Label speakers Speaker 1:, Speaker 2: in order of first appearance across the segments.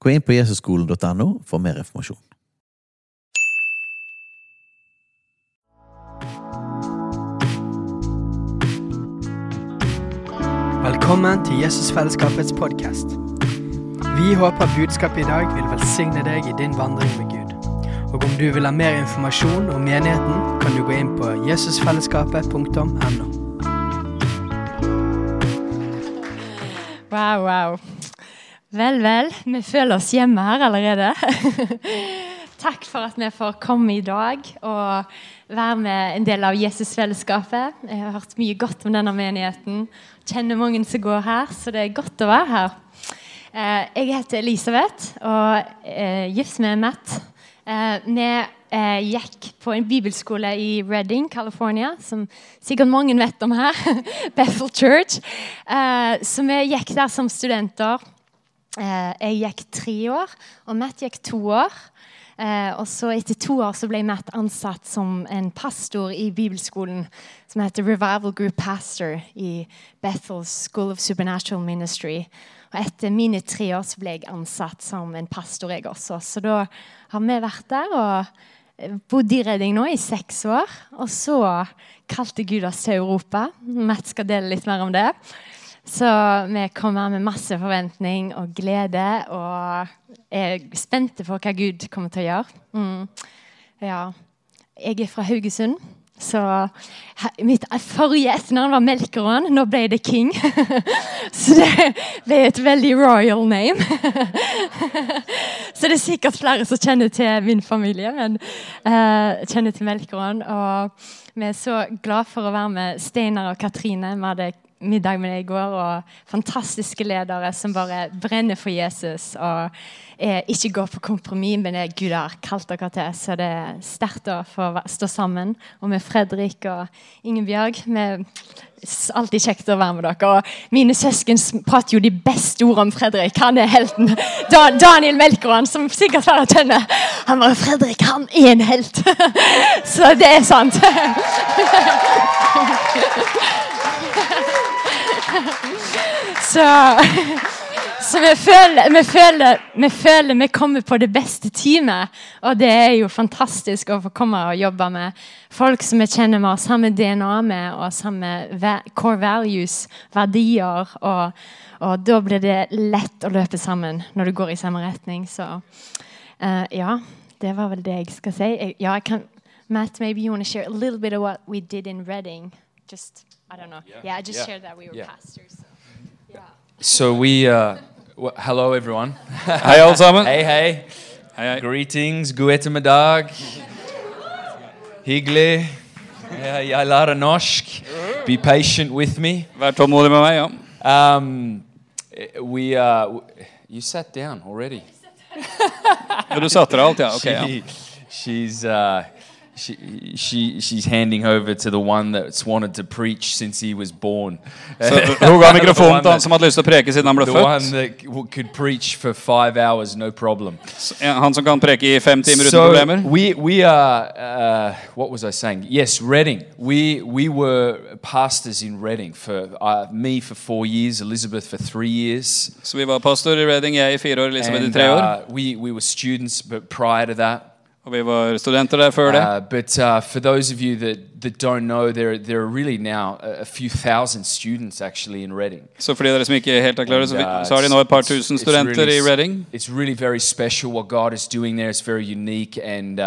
Speaker 1: Gå inn på jesusskolen.no for mer informasjon.
Speaker 2: Velkommen til Jesusfellesskapets podkast. Vi håper budskapet i dag vil velsigne deg i din vandring med Gud. Og om du vil ha mer informasjon om menigheten, kan du gå inn på jesusfellesskapet.no.
Speaker 3: Wow, wow. Vel, vel. Vi føler oss hjemme her allerede. Takk for at vi får komme i dag og være med en del av Jesusfellesskapet. Jeg har hørt mye godt om denne menigheten. Kjenner mange som går her, så det er godt å være her. Eh, Jeg heter Elisabeth og er gift med Matt. Eh, Vi eh, gikk på en bibelskole i Redding, California, som sikkert mange vet om her. Bethel Church. Eh, Så vi gikk der som studenter. Eh, Jeg gikk tre år, og Matt gikk to år. Eh, Og så etter to år så ble Matt ansatt som en pastor i bibelskolen som heter Revival Group Pastor i Bethel School of Supernatural Ministry. Og etter mine tre år så ble jeg ansatt som en pastor, jeg også. Så da har vi vært der og eh, bodd i Redding nå i seks år. Og så kalte Gud oss til Europa. Matt skal dele litt mer om det. Så vi kommer med masse forventning og glede og er spente på hva Gud kommer til å gjøre. Mm. Ja. Jeg er fra Haugesund. Så he- mitt forrige etternavn var Melkeråen. Nå ble det King. Så det ble et veldig royal name. Så det er sikkert flere som kjenner til min familie, men eh, kjenner til Melkeråen. Og vi er så glad for å være med Steinar og Katrine. Vi hadde middag med deg i går, og fantastiske ledere som bare brenner for Jesus og eh, ikke går på kompromiss med det Gud har kalt dere til. Så det er sterkt å få væ- stå sammen. Og med Fredrik og Ingebjørg vi s- Alltid kjekt å være med dere. Og mine søsken s- prater jo de beste ordene om Fredrik. Han er helten. Da, Daniel Melkeråen, som sikkert flere kjenner. Han bare 'Fredrik, han er en helt'. Så det er sant. Så så vi føler, vi, føler, vi føler vi kommer på det beste teamet. Og det er jo fantastisk å få komme og jobbe med folk som vi kjenner vi har samme DNA med, og samme va- core values, verdier. Og, og da blir det lett å løpe sammen når du går i samme retning. Så eh, ja, det var vel det jeg skal si. Jeg, ja, jeg kan, Matt, maybe you want to share a little bit of what we did in Reading. Just, I don't know. Yeah, I just
Speaker 4: Yeah.
Speaker 3: shared that we were
Speaker 4: Yeah.
Speaker 3: pastors. so.
Speaker 4: So we, uh, w- hello everyone.
Speaker 5: Hei, alle sammen.
Speaker 4: Hey, hey. Greetings, guete middag. Higli. Yeah, jeg lærer norsk. Be patient with me.
Speaker 5: Vær tålmodig med meg. ja.
Speaker 4: Um, we, uh, w- you sat down already.
Speaker 5: Ja, Du satte deg alt, ja. Ok, ja.
Speaker 4: She- She's, uh, she, she, she's handing over to the one that's wanted to preach since he was born.
Speaker 5: Så Hun ga mikrofonen til han som hadde lyst til å preke siden han ble
Speaker 4: The one
Speaker 5: født.
Speaker 4: that w- could preach for five hours, no problem.
Speaker 5: Ja, Han som kan preke i fem timer uten
Speaker 4: so
Speaker 5: problemer.
Speaker 4: We we are. Uh, what was I saying? Yes, Reading. We we were pastors in Reading for uh, me for four years, Elizabeth for three years,
Speaker 5: Så vi var pastor i Reading, jeg i fire år, Elisabeth i
Speaker 4: and
Speaker 5: tre år.
Speaker 4: uh, we we were students, but prior to that.
Speaker 5: Og vi var studenter der før det.
Speaker 4: Uh, but uh, for those of you that, that don't know, there, there are really now a, a few thousand students actually in Reading.
Speaker 5: Så for de dere som ikke helt er klare, så,
Speaker 4: And, uh,
Speaker 5: vi- så har de nå et par tusen studenter i
Speaker 4: really,
Speaker 5: Reading.
Speaker 4: It's really very special what God is doing there. It's very unique, and uh,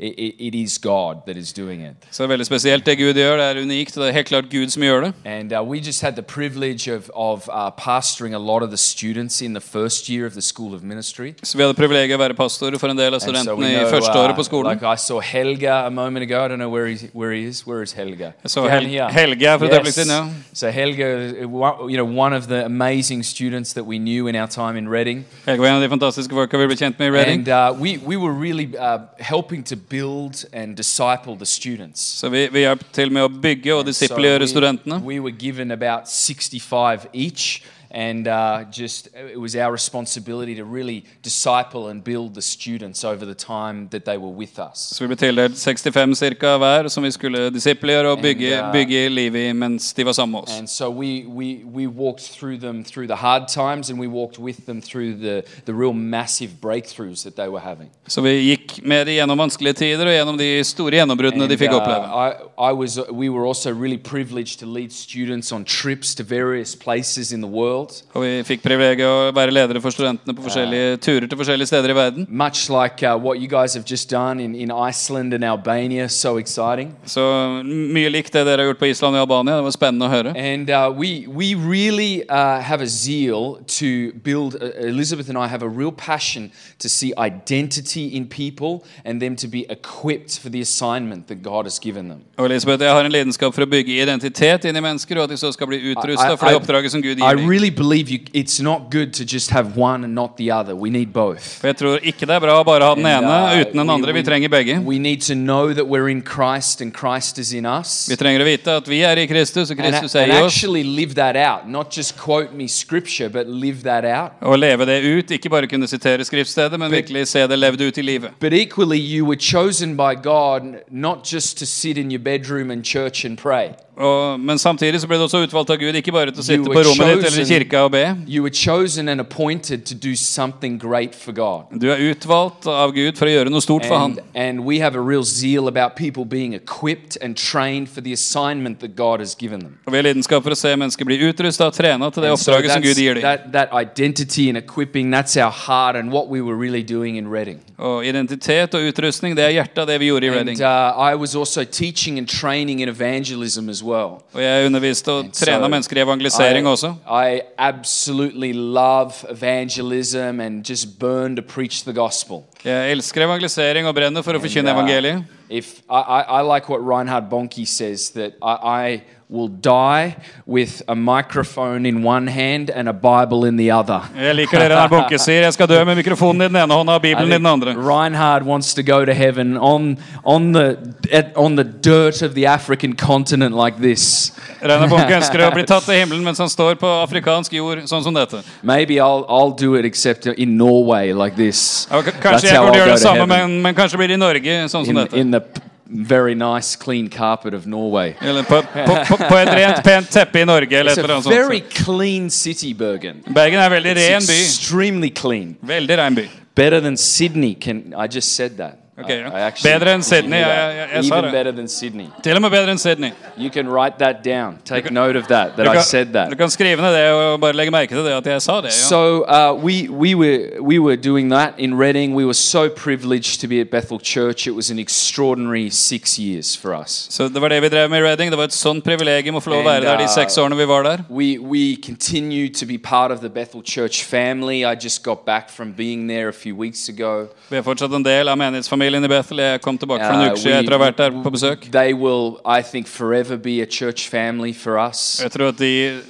Speaker 4: it, it, it is God that is doing it.
Speaker 5: Så det er veldig spesielt det Gud gjør. Det er unikt, og det er helt klart Gud som gjør det.
Speaker 4: And uh, we just had the privilege of, of uh, pastoring a lot of the students in the first year of the School of Ministry.
Speaker 5: Så vi hadde privilegiet å være pastor for en del av
Speaker 4: And so we
Speaker 5: studentene i
Speaker 4: know, uh,
Speaker 5: første året på skolen.
Speaker 4: like I saw Helga a moment ago. I don't know where he where he is. Where is Helga?
Speaker 5: saw
Speaker 4: Down
Speaker 5: Hel-
Speaker 4: here.
Speaker 5: Helga for the Dublin, yeah.
Speaker 4: So Helga, uh, one- you know, one of the amazing students that we knew in our time in Reading,
Speaker 5: Helge var en av de fantastiske folka vi ble kjent med i Reading.
Speaker 4: and uh, we we were really uh, helping to build and disciple the students.
Speaker 5: Så vi, vi hjalp til med å bygge og disippelgjøre studentene.
Speaker 4: we were given about 65 each, and uh, just it was our responsibility to really disciple and build the students over the time that they were with us.
Speaker 5: Så vi ble tildelt 65 cirka hver, som vi skulle disippelgjøre og bygge,
Speaker 4: And, uh,
Speaker 5: bygge liv i mens de var sammen med oss.
Speaker 4: And so we, we, we walked through them through the hard times, and we walked with them through the, the real massive breakthroughs that they were having.
Speaker 5: Så vi gikk med de gjennom vanskelige tider og gjennom de store gjennombruddene de
Speaker 4: And,
Speaker 5: fikk
Speaker 4: uh,
Speaker 5: oppleve.
Speaker 4: I, I was, we were also really privileged to lead students on trips to various places in the world.
Speaker 5: Og vi fikk privilegiet å være ledere for studentene på forskjellige turer til forskjellige steder i verden.
Speaker 4: Much like uh, what you guys have just done in, in Iceland and Albania, so exciting.
Speaker 5: Så mye likt det dere har gjort på Island og Albania. Det var spennende å høre.
Speaker 4: And uh, we, we really uh, have a zeal to build, uh, Elizabeth and I have a real passion to see identity in people and them to be equipped for the assignment that God has given them.
Speaker 5: Og Elisabeth, jeg har en lidenskap for å bygge identitet inn i mennesker, og at de så skal bli utrusta for det oppdraget som Gud
Speaker 4: I
Speaker 5: gir dem.
Speaker 4: really believe you, it's not good to just have one and not the other. We need both.
Speaker 5: For jeg tror ikke det er bra å bare ha den
Speaker 4: And,
Speaker 5: ene
Speaker 4: uh,
Speaker 5: uten den andre. Vi trenger begge.
Speaker 4: We need to know that we're in Christ and Christ is in us.
Speaker 5: Vi trenger å vite at vi er i Kristus, og
Speaker 4: And,
Speaker 5: Kristus er
Speaker 4: and
Speaker 5: i oss.
Speaker 4: actually live that out. Not just quote me scripture, but live that out.
Speaker 5: Å leve det ut, ikke bare kunne sitere skriftstedet, men virkelig se det levd ut i livet.
Speaker 4: But equally, you were chosen by God not just to sit in your bedroom and church and pray.
Speaker 5: Og, men samtidig så ble du også utvalgt av Gud, ikke bare
Speaker 4: You
Speaker 5: til å sitte
Speaker 4: were
Speaker 5: på rommet ditt eller i
Speaker 4: chosen.
Speaker 5: kirka og be.
Speaker 4: You were chosen and appointed to do something great for God.
Speaker 5: Du er utvalgt av Gud for å gjøre noe stort for Han.
Speaker 4: And, and we have a real zeal about people being equipped and trained for the assignment that God has given them.
Speaker 5: Og vi har lidenskap for å se mennesker bli utrusta og trena til det
Speaker 4: And so
Speaker 5: oppdraget som Gud
Speaker 4: that's-
Speaker 5: gir dem.
Speaker 4: that, that identity and equipping, that's our heart and what we were really doing in Reading.
Speaker 5: Og identitet og utrustning, det er hjertet av det vi gjorde i
Speaker 4: And
Speaker 5: Reading.
Speaker 4: uh, I was also teaching and training in evangelism as well.
Speaker 5: Og jeg underviste og trena
Speaker 4: So,
Speaker 5: mennesker i evangelisering også.
Speaker 4: I absolutely love evangelism and just burn to preach the gospel.
Speaker 5: Jeg elsker evangelisering og brenner for å
Speaker 4: And,
Speaker 5: forkynne
Speaker 4: uh,
Speaker 5: evangeliet.
Speaker 4: if I, I, I like what Reinhard Bonnke says that I, I will die with a microphone in one hand and a Bible in the other.
Speaker 5: Jeg liker det Renar Bunke sier. Jeg skal dø med mikrofonen i den ene hånda og
Speaker 4: I
Speaker 5: Bibelen i
Speaker 4: think
Speaker 5: den andre.
Speaker 4: Reinhard wants to go to heaven on on the at, on the dirt of the African continent like this.
Speaker 5: Reiner Bunke ønsker å bli tatt til himmelen mens han står på afrikansk jord, sånn som dette.
Speaker 4: Maybe I'll I'll do it except in Norway like this.
Speaker 5: Ja, k-
Speaker 4: That's
Speaker 5: Kanskje jeg
Speaker 4: how I'll
Speaker 5: burde
Speaker 4: go
Speaker 5: gjøre det
Speaker 4: to
Speaker 5: samme,
Speaker 4: heaven.
Speaker 5: men, men kanskje blir det i Norge, sånn som
Speaker 4: in,
Speaker 5: dette.
Speaker 4: in the p- very nice clean carpet of Norway.
Speaker 5: Eller på, på, på, på et rent, pent teppe i Norge, eller
Speaker 4: It's
Speaker 5: et
Speaker 4: a
Speaker 5: eller annet sånt.
Speaker 4: very clean city, Bergen.
Speaker 5: Bergen er en veldig ren
Speaker 4: It's
Speaker 5: by.
Speaker 4: extremely clean.
Speaker 5: Veldig ren by.
Speaker 4: Better than Sydney. Can I just said that?
Speaker 5: Okay,
Speaker 4: I,
Speaker 5: yeah.
Speaker 4: I actually
Speaker 5: Better than
Speaker 4: did
Speaker 5: Sydney,
Speaker 4: that.
Speaker 5: yeah, yeah, yeah, I saw
Speaker 4: Even
Speaker 5: that.
Speaker 4: better than Sydney.
Speaker 5: Til og med bedre enn Sydney.
Speaker 4: You can write that down. Take note of that. That
Speaker 5: Du
Speaker 4: I
Speaker 5: kan,
Speaker 4: said that.
Speaker 5: du kan skrive ned det og bare legge merke til det at jeg sa det. Ja.
Speaker 4: So uh, we we were we were doing that in Reading. We were so privileged to be at Bethel Church. It was an extraordinary six years for us.
Speaker 5: Så det var det vi drev med i Reading. Det var et sånt privilegium å få lov å
Speaker 4: And,
Speaker 5: være der de
Speaker 4: uh,
Speaker 5: seks årene vi var der.
Speaker 4: We, we continue to be part of the Bethel Church family. I just got back from being there a few weeks ago.
Speaker 5: Vi er fortsatt en del av menighetsfamilien i Bethel. Jeg kom tilbake for
Speaker 4: Uh,
Speaker 5: noen uker siden
Speaker 4: we-
Speaker 5: etter å ha vært der på besøk.
Speaker 4: They will, I think, forever be a church family for us.
Speaker 5: Jeg tror at de,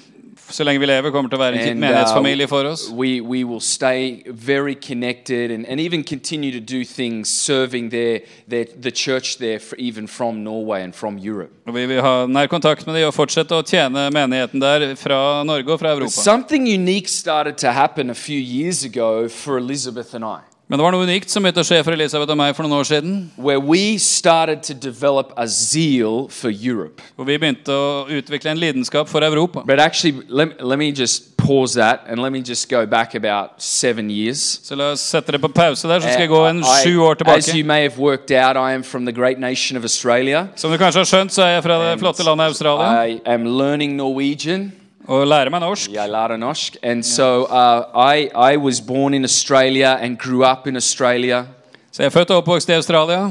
Speaker 5: så lenge vi lever, kommer til å være en
Speaker 4: And, uh,
Speaker 5: menighetsfamilie for oss.
Speaker 4: We, we will stay very connected and, and even continue to do things serving their, their, the church there, for, even from Norway and from Europe.
Speaker 5: Og vi vil ha nær kontakt med de og fortsette å tjene menigheten der fra Norge og fra Europa.
Speaker 4: Something unique started to happen a few years ago for Elizabeth and I,
Speaker 5: Men det var noe unikt som begynte å skje for Elisabeth og meg for noen år siden.
Speaker 4: where we started to develop a zeal for Europe.
Speaker 5: Hvor vi begynte å utvikle en lidenskap for Europa.
Speaker 4: But actually, let, let me just pause that and let me just go back about seven years. Eh,
Speaker 5: Så la oss sette det på pause der, så skal jeg gå en
Speaker 4: I-
Speaker 5: sju år
Speaker 4: as you
Speaker 5: tilbake.
Speaker 4: may have worked out, I am from the great nation of Australia.
Speaker 5: Som du kanskje har skjønt, så er jeg fra det flotte landet Australia
Speaker 4: I am learning Norwegian.
Speaker 5: og lærer meg norsk.
Speaker 4: Yeah, Laranosk. And so uh, I, I was born in Australia and grew up in Australia.
Speaker 5: Så jeg er født og oppvokst i Australia.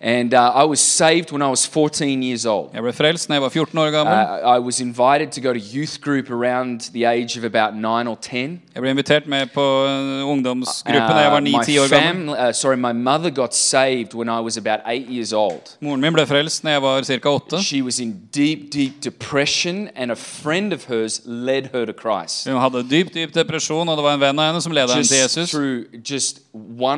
Speaker 4: And uh, I was saved when I was 14 years old.
Speaker 5: Jeg ble frelst da jeg var 14 år
Speaker 4: Uh,
Speaker 5: gammel.
Speaker 4: I was invited to go to youth group around the age of about 9 or 10.
Speaker 5: Jeg ble invitert med på eh, ungdomsgruppen da jeg
Speaker 4: Uh,
Speaker 5: var
Speaker 4: my
Speaker 5: 9-10 år gammel.
Speaker 4: family, uh, sorry, my mother got saved when I was about eight years old.
Speaker 5: Moren min ble frelst da jeg var ca. 8.
Speaker 4: She was in deep, deep depression, and a friend of hers led her to Christ.
Speaker 5: Hun hadde dyp, dyp depresjon, og det var en venn av henne som ledet henne til
Speaker 4: Just
Speaker 5: Jesus.
Speaker 4: through just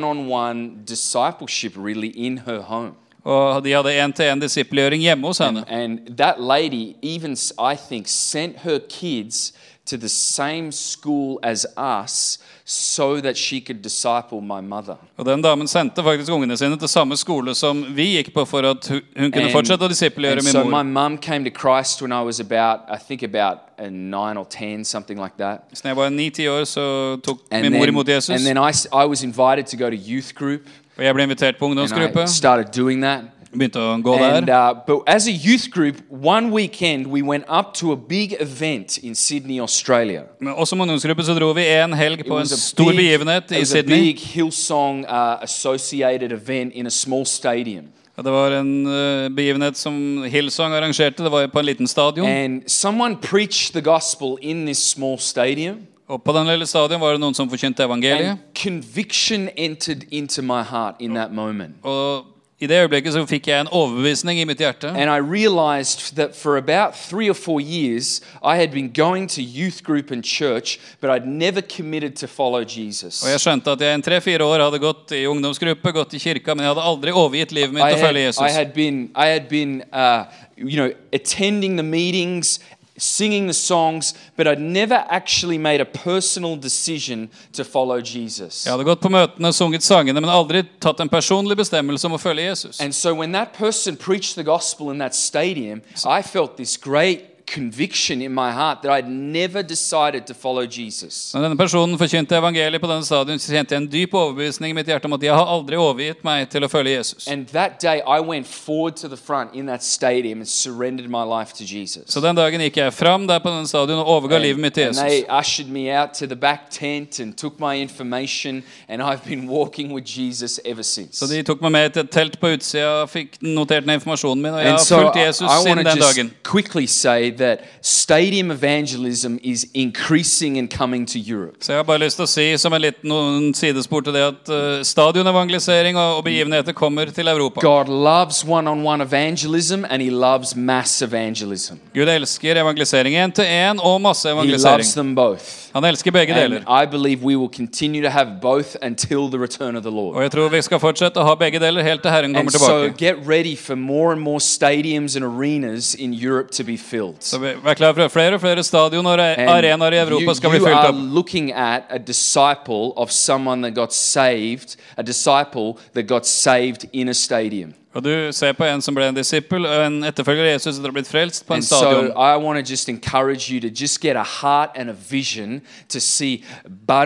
Speaker 4: one-on-one discipleship, really, in her home.
Speaker 5: Og de hadde en-til-en disippelgjøring hjemme hos henne.
Speaker 4: And that lady, even s- I think, sent her kids to the same school as us so that she could disciple my mother.
Speaker 5: Og den damen sendte faktisk ungene sine til samme skole som vi gikk på, for at hun hun kunne fortsette å disippelgjøre
Speaker 4: and
Speaker 5: min
Speaker 4: so my
Speaker 5: mor.
Speaker 4: mum came to Christ when I was about, I think, about uh, nine or ten, something like that.
Speaker 5: Så da jeg var 9-10 år, så tok
Speaker 4: And
Speaker 5: min mor
Speaker 4: then,
Speaker 5: imot Jesus.
Speaker 4: and then I, s- I was invited to go to youth group.
Speaker 5: Og jeg ble invitert på
Speaker 4: And I
Speaker 5: ungdomsgruppe.
Speaker 4: started doing that.
Speaker 5: Begynte å gå
Speaker 4: And,
Speaker 5: der.
Speaker 4: uh, but as a youth group, one weekend we went up to a big event in Sydney, Australia.
Speaker 5: Men også som ungdomsgruppe så dro vi en helg
Speaker 4: It
Speaker 5: på en
Speaker 4: was a
Speaker 5: stor
Speaker 4: big-
Speaker 5: begivenhet
Speaker 4: it
Speaker 5: i
Speaker 4: was a
Speaker 5: Sydney.
Speaker 4: big Hillsong uh, associated event in a small stadium.
Speaker 5: Og det var en eh, begivenhet som Hillsong arrangerte. Det var på en liten stadion.
Speaker 4: And someone preached the gospel in this small stadium.
Speaker 5: Og på den lille stadion var det noen som forkynte evangeliet.
Speaker 4: And conviction entered into my heart in that moment.
Speaker 5: Og i det øyeblikket så fikk jeg en overbevisning i mitt hjerte.
Speaker 4: And I realized that for about three or four years, I had been going to youth group and church, but I'd never committed to follow Jesus.
Speaker 5: Og jeg skjønte at jeg i tre-fire år hadde gått i ungdomsgruppe, gått i kirka, men jeg hadde aldri overgitt livet mitt
Speaker 4: I
Speaker 5: til å
Speaker 4: had,
Speaker 5: følge
Speaker 4: I
Speaker 5: Jesus.
Speaker 4: had been, I had been uh, you know, attending the meetings, singing the songs, but I'd never actually made a personal decision to follow Jesus.
Speaker 5: Jeg hadde gått på møtene, sunget sangene, men aldri tatt en personlig bestemmelse om å følge Jesus.
Speaker 4: And so when that person preached the gospel in that stadium, I felt this great conviction in my heart that I'd never decided to follow Jesus.
Speaker 5: Når denne personen forkynte evangeliet på denne stadion, så kjente jeg en dyp overbevisning i mitt hjerte om at jeg har aldri overgitt meg til å følge Jesus.
Speaker 4: And that day, I went forward to the front in that stadium and surrendered my life to Jesus.
Speaker 5: Så den dagen gikk jeg fram der på denne stadion og overga livet mitt til
Speaker 4: and they
Speaker 5: Jesus.
Speaker 4: ushered me out to the back tent and took my information, and I've been walking with Jesus ever since.
Speaker 5: Så de tok meg med til et telt på utsida, fikk notert ned informasjonen min, og jeg
Speaker 4: and
Speaker 5: har
Speaker 4: so
Speaker 5: fulgt
Speaker 4: I,
Speaker 5: Jesus
Speaker 4: I want
Speaker 5: siden
Speaker 4: to
Speaker 5: den
Speaker 4: just
Speaker 5: dagen.
Speaker 4: quickly say that stadium evangelism is increasing and coming to Europe.
Speaker 5: Så jeg har bare lyst til å si som en liten noen sidespor til det at eh, stadionevangelisering og, og begivenheter kommer til Europa.
Speaker 4: God loves one on one evangelism and He loves mass evangelism.
Speaker 5: Gud elsker evangelisering én til én og
Speaker 4: He loves
Speaker 5: masseevangelisering.
Speaker 4: them both.
Speaker 5: Han elsker begge
Speaker 4: And
Speaker 5: deler.
Speaker 4: I believe we will continue to have both until the return of the Lord.
Speaker 5: Og jeg tror vi skal fortsette å ha begge deler helt til
Speaker 4: And
Speaker 5: Herren kommer
Speaker 4: so
Speaker 5: tilbake.
Speaker 4: get ready for more and more stadiums and arenas in Europe to be filled.
Speaker 5: Så vi- Vær klar for at flere og flere stadion og are-
Speaker 4: And
Speaker 5: arenaer i Europa skal
Speaker 4: you,
Speaker 5: bli
Speaker 4: you
Speaker 5: fylt
Speaker 4: are
Speaker 5: opp.
Speaker 4: looking at a disciple of someone that got saved, a disciple that got saved in a stadium.
Speaker 5: Og du ser på en som ble en disippel, og en etterfølger av Jesus som har blitt frelst på en
Speaker 4: And so
Speaker 5: stadion.
Speaker 4: I want to just encourage you to just get a heart and a vision to see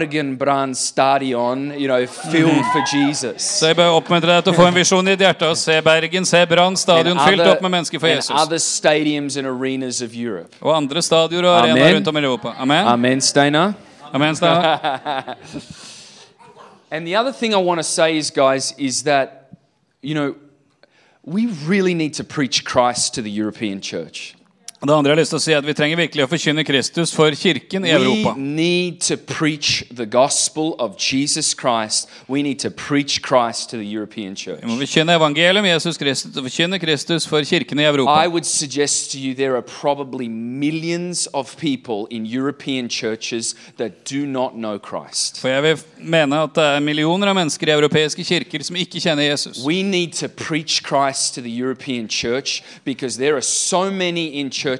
Speaker 4: Bergenbrand Stadion, you know, filled for Jesus.
Speaker 5: Mhm. Så jeg bør oppmuntre deg til å få en visjon i ditt hjerte og se Bergen, se Brann stadion fylt opp med mennesker for
Speaker 4: and
Speaker 5: Jesus.
Speaker 4: other stadiums and arenas of Europe.
Speaker 5: Og andre stadioner og
Speaker 4: Amen.
Speaker 5: arenaer rundt om i Europa. Amen.
Speaker 4: Amen, Steiner.
Speaker 5: Amen Steinar.
Speaker 4: And the other thing I want to say is, guys, is that, you know, we really need to preach Christ to the European church.
Speaker 5: Og Det andre jeg har lyst til å si er at Vi trenger virkelig å forkynne Kristus for kirken i
Speaker 4: We
Speaker 5: Europa.
Speaker 4: need to preach the gospel of Jesus Christ. We need to preach Christ to the European church.
Speaker 5: Vi må forkynne evangeliet om Jesus Kristus og forkynne Kristus for kirken i
Speaker 4: I
Speaker 5: Europa.
Speaker 4: would suggest to you there are probably millions of people in European churches that do not know Christ.
Speaker 5: For jeg vil mene at det er millioner av mennesker i europeiske kirker som ikke kjenner Jesus.
Speaker 4: We need to preach Christ to the European church because there are so many in churches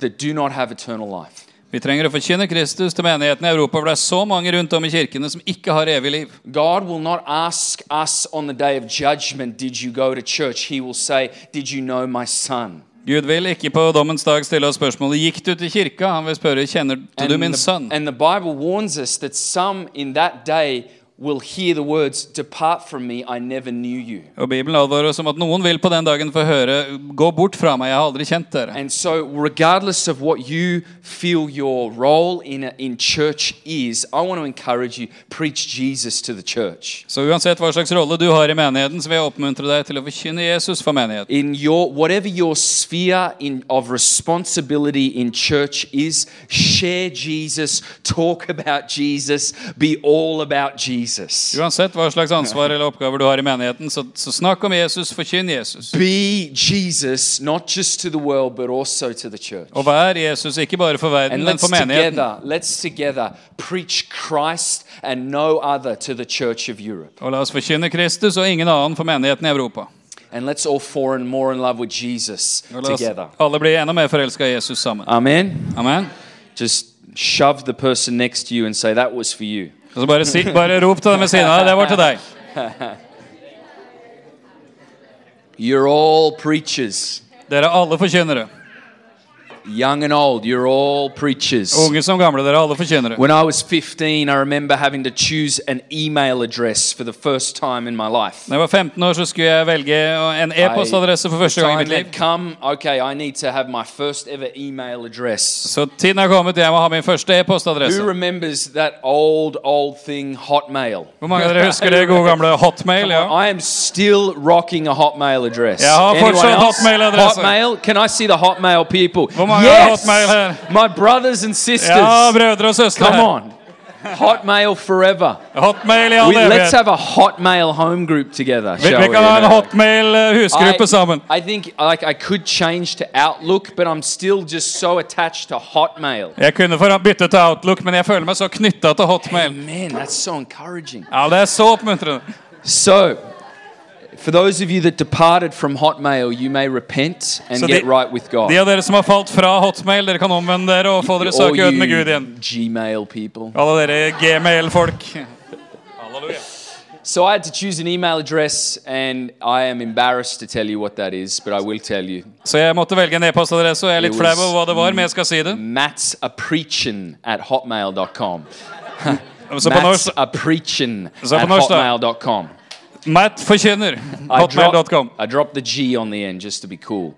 Speaker 4: that do not have eternal life.
Speaker 5: Vi trenger å forkynne Kristus til menigheten i Europa, for det er så mange rundt om i kirkene som ikke har evig liv.
Speaker 4: God will not ask us on the day of judgment, Did you go to church? He will say, Did you know my son?
Speaker 5: Gud vil ikke på dommens dag stille oss spørsmålet gikk du til kirka. Han vil spørre kjenner du min
Speaker 4: the,
Speaker 5: sønn.
Speaker 4: and the Bible warns us that some in that day will hear the words, Depart from me, I never knew you.
Speaker 5: Og Bibelen advarer oss om at noen vil på den dagen få høre 'Gå bort fra meg, jeg har aldri kjent dere'.
Speaker 4: And so, regardless of what you feel your role in, in church is, I want to encourage you preach Jesus to the church.
Speaker 5: Så uansett hva slags rolle du har i menigheten, så vil jeg oppmuntre deg til å forkynne Jesus for menigheten.
Speaker 4: In your whatever your sphere in, of responsibility in church is, share Jesus, talk about Jesus, be all about Jesus.
Speaker 5: Uansett hva slags ansvar eller oppgaver du har i menigheten, så, så snakk om Jesus, forkynn Jesus.
Speaker 4: Be Jesus, not just to the world, but also to the church.
Speaker 5: Og vær Jesus ikke bare for verden,
Speaker 4: And
Speaker 5: men
Speaker 4: let's
Speaker 5: for menigheten.
Speaker 4: together, let's together preach Christ and no other to the Church of Europe.
Speaker 5: Og la oss forkynne Kristus og ingen annen for menigheten i Europa.
Speaker 4: And let's all four and more in love with Jesus
Speaker 5: Og la oss
Speaker 4: together.
Speaker 5: alle bli enda mer forelska i Jesus sammen.
Speaker 4: Amen.
Speaker 5: Amen.
Speaker 4: Just shove the person next to you and say, That was for you.
Speaker 5: Og så bare, si, bare rop til dem ved siden av deg. Det var til deg.
Speaker 4: You're all preachers,
Speaker 5: Dere er alle forkynnere.
Speaker 4: young and old, you're all preachers.
Speaker 5: Unge som gamle, dere er alle forkynnere.
Speaker 4: When I was 15, I remember having to choose an email address for the first time in my life.
Speaker 5: Da jeg var 15 år, så skulle jeg velge en e-postadresse for første gang i
Speaker 4: Time
Speaker 5: mitt
Speaker 4: had
Speaker 5: liv.
Speaker 4: come, okay, I need to have my first ever email address.
Speaker 5: Så tiden er kommet, jeg må ha min første
Speaker 4: Who
Speaker 5: e-postadresse.
Speaker 4: remembers that old, old thing, Hotmail?
Speaker 5: Hvor mange av dere husker det gode gamle hotmail? ja?
Speaker 4: I am still rocking a Hotmail address.
Speaker 5: Jeg har
Speaker 4: Anyone
Speaker 5: fortsatt
Speaker 4: else?
Speaker 5: Hotmail-adresse.
Speaker 4: Hotmail? Can I see the Hotmail people?
Speaker 5: Hvor mange har
Speaker 4: yes!
Speaker 5: Oh Hotmail her?
Speaker 4: My brothers and sisters.
Speaker 5: Ja, brødre og søstre.
Speaker 4: Come
Speaker 5: her.
Speaker 4: on. Hotmail forever.
Speaker 5: Hotmail i all
Speaker 4: We, let's
Speaker 5: evighet.
Speaker 4: have a Hotmail home group together,
Speaker 5: Vi,
Speaker 4: shall
Speaker 5: vi
Speaker 4: we?
Speaker 5: kan ha en hotmail-husgruppe sammen.
Speaker 4: I, I think like I could change to Outlook, but I'm still just so attached to Hotmail.
Speaker 5: Jeg kunne for- bytte til Outlook, men jeg føler meg så knytta til hotmail.
Speaker 4: Man, that's so encouraging.
Speaker 5: Ja, Det er så oppmuntrende.
Speaker 4: So, for those of you that departed from Hotmail, you may repent and
Speaker 5: Så
Speaker 4: get
Speaker 5: de-
Speaker 4: right with God.
Speaker 5: De av dere som har falt fra hotmail, dere kan omvende dere og få dere
Speaker 4: All
Speaker 5: sak i øden med
Speaker 4: you
Speaker 5: Gud igjen.
Speaker 4: Gmail people.
Speaker 5: Alle dere gmail-folk. Halleluja.
Speaker 4: So I had to choose an email address, and I am embarrassed to tell you what that is, but I will tell you.
Speaker 5: Så jeg måtte velge en e-postadresse, og jeg er litt
Speaker 4: It
Speaker 5: flau
Speaker 4: was-
Speaker 5: over hva det var, men jeg skal si det.
Speaker 4: Matt's a preachin at hotmail.com.
Speaker 5: Så på
Speaker 4: Matt's
Speaker 5: norsk
Speaker 4: a preachin at
Speaker 5: Så på norsk, da.
Speaker 4: hotmail.com.
Speaker 5: Matt forkynner.
Speaker 4: I dropped,
Speaker 5: Hotmail.com.
Speaker 4: I dropped the G on the end just to be cool.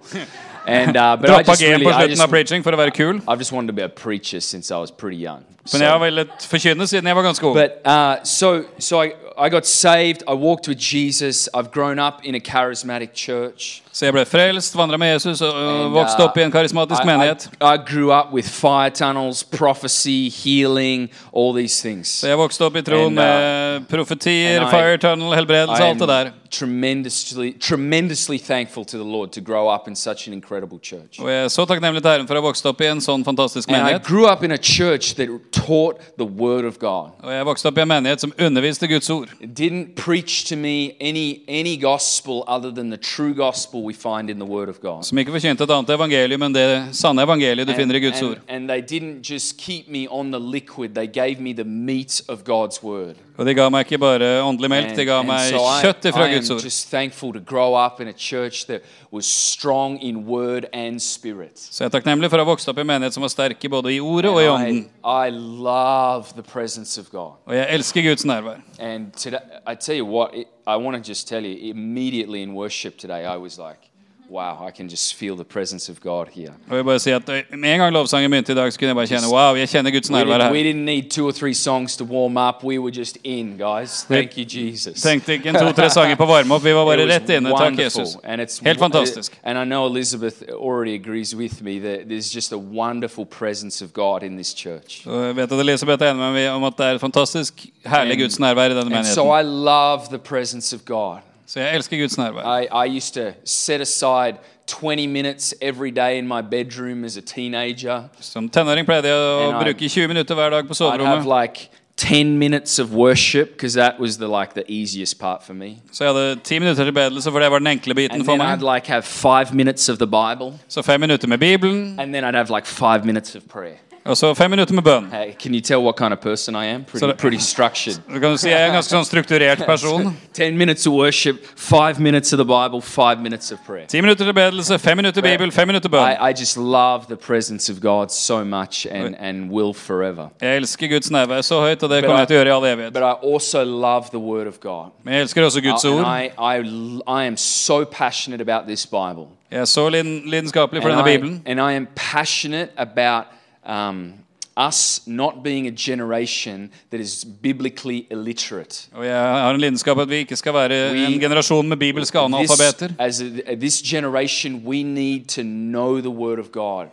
Speaker 4: And uh, but I
Speaker 5: Droppa
Speaker 4: just,
Speaker 5: G-en
Speaker 4: really,
Speaker 5: på
Speaker 4: I
Speaker 5: slutten av
Speaker 4: just,
Speaker 5: preaching for å være kul.
Speaker 4: I've just wanted to be a preacher since I was pretty young.
Speaker 5: Men
Speaker 4: So-
Speaker 5: jeg har villet forkynne siden jeg var ganske ung.
Speaker 4: But uh, so, so I, I got saved. I walked with Jesus. I've grown up in a charismatic church.
Speaker 5: Så jeg ble frelst, vandra med Jesus og øh,
Speaker 4: And,
Speaker 5: vokste
Speaker 4: uh,
Speaker 5: opp i en karismatisk
Speaker 4: I-
Speaker 5: menighet.
Speaker 4: I, I grew up with fire tunnels, prophecy, healing, all these things.
Speaker 5: Så jeg vokste opp i
Speaker 4: And,
Speaker 5: troen
Speaker 4: uh,
Speaker 5: med profetier,
Speaker 4: and I-
Speaker 5: fire tunnel, helbredelse, alt det der.
Speaker 4: I'm tremendously, tremendously thankful to the Lord to grow up in such an incredible church.
Speaker 5: Og jeg er så takknemlig til Herren for å ha vokst opp i en sånn fantastisk
Speaker 4: And I
Speaker 5: menighet.
Speaker 4: grew up in a church that taught the Word of God.
Speaker 5: Og jeg vokste opp i en menighet som underviste Guds ord.
Speaker 4: It didn't preach to me any, any gospel other than the true gospel we find in the Word of God.
Speaker 5: Som ikke forkynte et annet evangelium enn det sanne evangeliet du finner i Guds ord.
Speaker 4: and they didn't just keep me on the liquid, they gave me the meat of God's word.
Speaker 5: Og de ga meg ikke bare åndelig melk,
Speaker 4: And,
Speaker 5: de ga
Speaker 4: and
Speaker 5: meg
Speaker 4: so I,
Speaker 5: kjøtt ifra
Speaker 4: I am
Speaker 5: Guds ord.
Speaker 4: just thankful to grow up in a church that was strong in word and spirit.
Speaker 5: Så jeg er takknemlig for å ha vokst opp i en menighet som var sterke både i ordet og i ånden.
Speaker 4: I, I love the presence of God.
Speaker 5: Og jeg elsker Guds nærvær.
Speaker 4: And today, I tell you what, it, I want to just tell you immediately in worship today, I was like, wow, I can just feel the presence of God here.
Speaker 5: Og jeg vil bare si at øh, Med en gang lovsangen begynte i dag, så kunne jeg bare kjenne wow, jeg kjenner Guds
Speaker 4: We
Speaker 5: nærvær
Speaker 4: didn't, we
Speaker 5: her.
Speaker 4: didn't need two or three songs to warm up. We were just in, guys. Thank you, Jesus.
Speaker 5: Tenkte ikke en to-tre sanger på å varme opp, vi var bare
Speaker 4: It was
Speaker 5: rett inne. Takk,
Speaker 4: wonderful,
Speaker 5: Jesus.
Speaker 4: and it's-
Speaker 5: Helt fantastisk.
Speaker 4: And I know Elizabeth already agrees with me that there's just a wonderful presence of God in this church.
Speaker 5: Og jeg vet at Elisabeth er enig med meg om at det er et fantastisk herlig Guds nærvær i denne
Speaker 4: And so
Speaker 5: menigheten.
Speaker 4: I love the presence of God.
Speaker 5: Så jeg elsker Guds nærvær.
Speaker 4: I, I used to set aside 20 minutes every day in my bedroom as a teenager.
Speaker 5: Som tenåring pleide jeg å
Speaker 4: And I-
Speaker 5: bruke 20 minutter hver dag på
Speaker 4: I'd have
Speaker 5: soverommet.
Speaker 4: like 10 minutes of worship because that was the like the easiest part for me.
Speaker 5: Så jeg hadde 10 minutter til bedelse, for det var den enkle biten
Speaker 4: And
Speaker 5: for
Speaker 4: then I'd
Speaker 5: meg.
Speaker 4: like have 5 minutes of the Bible
Speaker 5: Så fem minutter med Bibelen,
Speaker 4: and then I'd have like 5 minutes of prayer.
Speaker 5: Og så fem minutter med bønn.
Speaker 4: Hey, can you tell what kind of person I am? Pretty,
Speaker 5: So-
Speaker 4: pretty structured.
Speaker 5: Så kan du si jeg er en ganske sånn strukturert person.
Speaker 4: 10 minutes of worship, 5 minutes of the Bible, 5 minutes of prayer.
Speaker 5: Ti minutter tilbedelse, fem minutter Bibel, fem minutter bønn.
Speaker 4: I, I just love the presence of God so much and, and will forever.
Speaker 5: Jeg elsker Guds nærvær så høyt, og det kommer jeg til å gjøre i all evighet.
Speaker 4: But I also love the Word of God.
Speaker 5: Men jeg elsker også Guds
Speaker 4: and
Speaker 5: ord.
Speaker 4: I, I, l- I am so passionate about this Bible.
Speaker 5: Jeg er så liden- lidenskapelig for
Speaker 4: And
Speaker 5: denne
Speaker 4: I,
Speaker 5: Bibelen.
Speaker 4: and I am passionate about um, us not being a generation that is biblically illiterate.
Speaker 5: Og jeg har en lidenskap at vi ikke skal være
Speaker 4: We-
Speaker 5: en generasjon med bibelske
Speaker 4: This,
Speaker 5: er analfabeter.
Speaker 4: as a, this generation, we need to know the Word of God.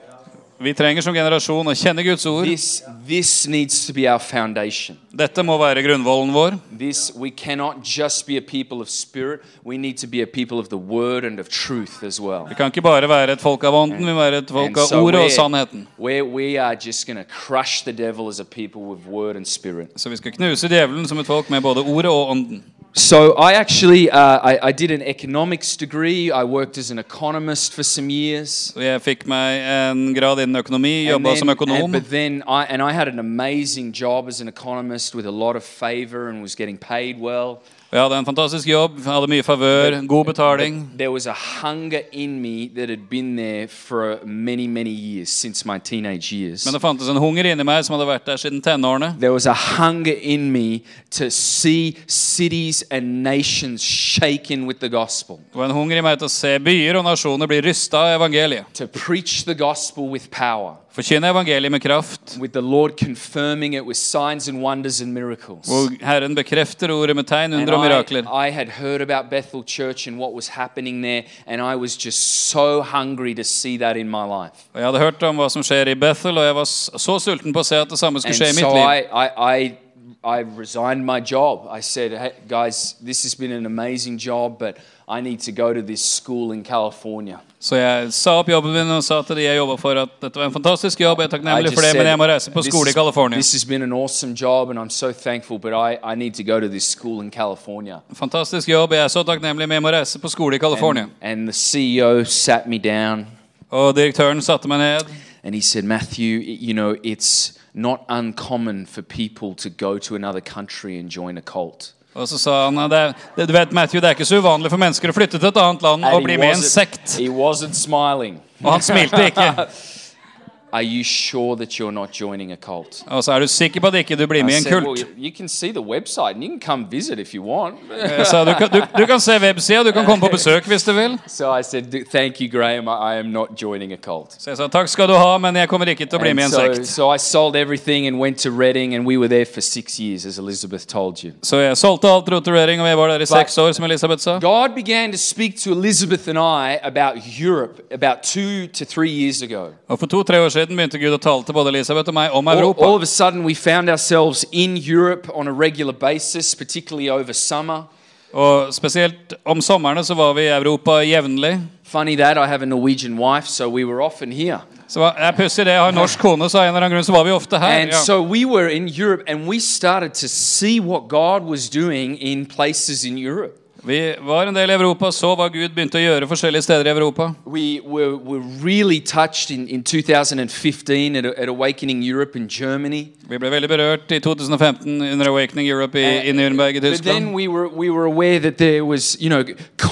Speaker 5: Vi trenger som generasjon å kjenne Guds ord.
Speaker 4: This, this needs to be our foundation.
Speaker 5: Dette må være grunnvollen vår.
Speaker 4: This we cannot just be a people of spirit. We need to be a people of the Word and of truth as well.
Speaker 5: Vi kan ikke bare være et folk av ånden, vi må være et folk
Speaker 4: And
Speaker 5: av
Speaker 4: so
Speaker 5: ordet og
Speaker 4: we're-
Speaker 5: sannheten.
Speaker 4: We're, we are just going to crush the devil as a people with Word and Spirit.
Speaker 5: Så vi skal knuse djevelen som et folk med både ordet og ånden.
Speaker 4: So I actually uh, I, I did an economics degree. I worked as an economist for some years.
Speaker 5: Så jeg fikk meg en grad innen økonomi, jobba som
Speaker 4: and,
Speaker 5: økonom.
Speaker 4: but then I and I had an amazing job as an economist with a lot of favor and was getting paid well.
Speaker 5: Jeg hadde en fantastisk jobb, hadde mye favør, god betaling.
Speaker 4: There was a hunger in me that had been there for many many years since my teenage years.
Speaker 5: Men det fantes en hunger inni meg som hadde vært der siden tenårene.
Speaker 4: There was a hunger in me to see cities and nations shaken with the gospel,
Speaker 5: Det var en hunger i meg til å se byer og nasjoner bli rysta av evangeliet.
Speaker 4: to preach the gospel with power.
Speaker 5: Forkynne evangeliet med kraft.
Speaker 4: with the Lord confirming it with signs and wonders and miracles.
Speaker 5: Hvor Herren bekrefter ordet med tegn,
Speaker 4: And
Speaker 5: under og mirakler.
Speaker 4: I, I had heard about Bethel Church and what was happening there, and I was just so hungry to see that in my life.
Speaker 5: Og jeg hadde hørt om hva som skjer i Bethel, og jeg var s- så sulten på å se at det samme
Speaker 4: And
Speaker 5: skulle skje i
Speaker 4: so
Speaker 5: mitt liv.
Speaker 4: I, I, I, I resigned my job. I said, hey, guys, this has been an amazing job, but I need to go to this school in California.
Speaker 5: Så jeg sa opp jobben min og sa til de jeg jobba for, at dette var en fantastisk jobb, jeg er
Speaker 4: I
Speaker 5: takknemlig
Speaker 4: just
Speaker 5: for det,
Speaker 4: said,
Speaker 5: men jeg må reise på skole i California.
Speaker 4: this has been an awesome job, and I'm so thankful, but I, I need to go to this school in California.
Speaker 5: Fantastisk jobb, jeg er så takknemlig, men jeg må reise på skole i California.
Speaker 4: And, and the CEO sat me down.
Speaker 5: Og direktøren satte meg ned.
Speaker 4: And he said, Matthew, i- you know, it's not uncommon for people to go to another country and join a cult.
Speaker 5: Og så sa han "Nei, det er, det, du vet, Matthew, det er ikke så uvanlig for mennesker å flytte til et annet land og
Speaker 4: And
Speaker 5: bli
Speaker 4: he
Speaker 5: med i en
Speaker 4: wasn't-
Speaker 5: sekt.
Speaker 4: He wasn't smiling.
Speaker 5: Og han smilte ikke.
Speaker 4: Are you sure that you're not joining a cult?
Speaker 5: Og så er du sikker på at ikke du blir med i
Speaker 4: I
Speaker 5: en
Speaker 4: said, well,
Speaker 5: kult.
Speaker 4: you you can see the website and you can come visit if you want.
Speaker 5: Jeg sa du kan, du, du kan se websida, du kan komme på besøk hvis du vil.
Speaker 4: so I said, "D- thank you, Graham. I I am not joining a cult.
Speaker 5: Så jeg sa takk skal du ha, men jeg kommer ikke til å bli
Speaker 4: And
Speaker 5: med i en
Speaker 4: so,
Speaker 5: sekt.
Speaker 4: so I sold everything and went to Reading, and we were there for six years, as Elizabeth told you.
Speaker 5: Så jeg solgte alt rotulering, og jeg var der i seks år, som Elisabeth sa.
Speaker 4: God began to speak to Elizabeth and I about Europe about two to three years ago.
Speaker 5: Og for to-tre år siden begynte Gud å tale til både Elisabeth og meg om
Speaker 4: All,
Speaker 5: Europa.
Speaker 4: all of a sudden, we found ourselves in Europe on a regular basis, particularly over summer.
Speaker 5: Og spesielt om somrene så var vi i Europa jevnlig.
Speaker 4: Funny that I have a Norwegian wife, so we were often here.
Speaker 5: Så var, jeg pussig det, jeg har en norsk kone, så av en eller annen grunn så var vi ofte her.
Speaker 4: And
Speaker 5: Ja.
Speaker 4: so we were in Europe and we started to see what God was doing in places in Europe.
Speaker 5: Vi var en del i Europa, så hva Gud begynte å gjøre forskjellige steder i Europa.
Speaker 4: We were, were really touched in, in 2015 at, at Awakening Europe in Germany.
Speaker 5: Vi ble veldig berørt i 2015 under Awakening Europe i, i Nürnberg i
Speaker 4: But then
Speaker 5: Tyskland.
Speaker 4: we were we were aware that there was you know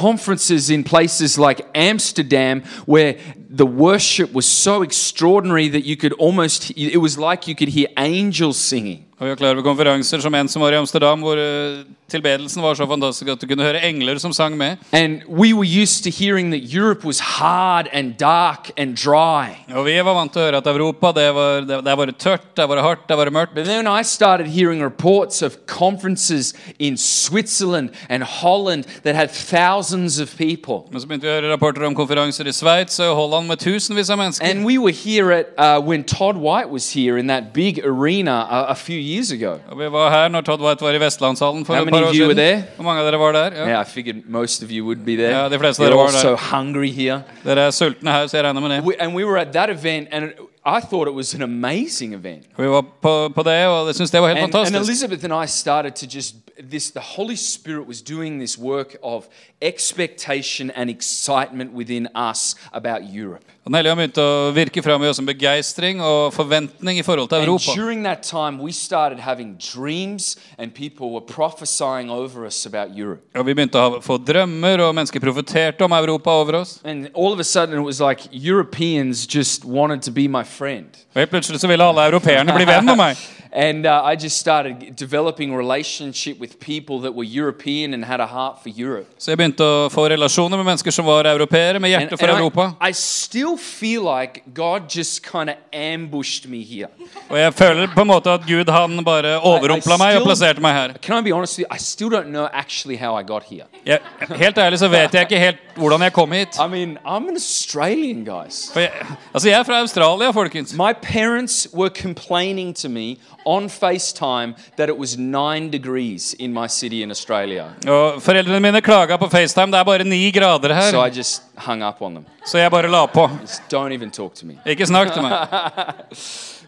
Speaker 4: conferences in places like Amsterdam where the worship was so extraordinary that you could almost it was like you could hear angels singing.
Speaker 5: Og vi var klar over konferanser som en som var i Amsterdam, hvor eh, tilbedelsen var så fantastisk at du kunne høre engler som sang med.
Speaker 4: And we were used to hearing that Europe was hard and dark and dry.
Speaker 5: Og vi var vant til å høre at Europa, det var, det, der var det tørt, der var det hardt, der var det mørkt.
Speaker 4: But then I started hearing reports of conferences in Switzerland and Holland that had thousands of people.
Speaker 5: Men så begynte vi å høre rapporter om konferanser i Sveits og i Holland med tusenvis av mennesker.
Speaker 4: And we were here at uh, when Todd White was here in that big arena uh, a, a few years ago.
Speaker 5: Og vi var her når Todd White var i Vestlandshallen for
Speaker 4: How
Speaker 5: et
Speaker 4: many
Speaker 5: par
Speaker 4: of
Speaker 5: år
Speaker 4: you were
Speaker 5: siden.
Speaker 4: there?
Speaker 5: Hvor mange av dere var der? Ja.
Speaker 4: Yeah, I figured most of you would be there.
Speaker 5: Yeah, de fleste
Speaker 4: You're
Speaker 5: dere
Speaker 4: all
Speaker 5: var der.
Speaker 4: so hungry here.
Speaker 5: Dere er sultne her, så jeg regner med det.
Speaker 4: We, and we were at that event, and it- I thought it was an amazing event.
Speaker 5: Og Vi var på, på det, og jeg synes det var helt
Speaker 4: And, and
Speaker 5: fantastisk.
Speaker 4: Elizabeth and I started to just this. The Holy Spirit was doing this work of expectation and excitement within us about Europe.
Speaker 5: Og Den hellige ånd begynte å virke fram i oss som begeistring og forventning i forhold til
Speaker 4: And
Speaker 5: Europa.
Speaker 4: during that time, we started having dreams, and people were prophesying over us about Europe.
Speaker 5: Og Vi begynte å ha, få drømmer, og mennesker profeterte om Europa over oss.
Speaker 4: And all of a sudden, it was like Europeans just wanted to be my friend.
Speaker 5: Og Helt plutselig så ville alle europeerne bli venn med meg.
Speaker 4: And uh, I just started developing a relationship with people that were European and had a heart for Europe.
Speaker 5: Så jeg begynte å få relasjoner med mennesker som var europeere, med
Speaker 4: And,
Speaker 5: hjerte for
Speaker 4: and I-
Speaker 5: Europa.
Speaker 4: I, still feel like God just kind of ambushed me here.
Speaker 5: Og jeg føler på en måte at Gud han bare overrumpla meg og plasserte meg her.
Speaker 4: Can I be honest with you? I still don't know actually how I got here.
Speaker 5: Jeg, helt ærlig så vet jeg ikke helt hvordan jeg kom hit.
Speaker 4: I mean, I'm an Australian, guys.
Speaker 5: For jeg, altså jeg er fra Australia, folkens.
Speaker 4: My parents were complaining to me on FaceTime that it was nine degrees in my city in Australia.
Speaker 5: Og foreldrene mine klaga på FaceTime. Det er bare ni grader her.
Speaker 4: So I just hung up on them.
Speaker 5: Så jeg bare la på.
Speaker 4: Just don't even talk to me.
Speaker 5: Ikke snakk til meg.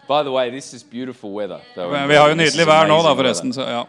Speaker 4: By the way, this is beautiful weather. Though.
Speaker 5: Men Vi har jo
Speaker 4: This is
Speaker 5: nydelig vær nå, da,
Speaker 4: amazing weather.
Speaker 5: forresten. Så, ja.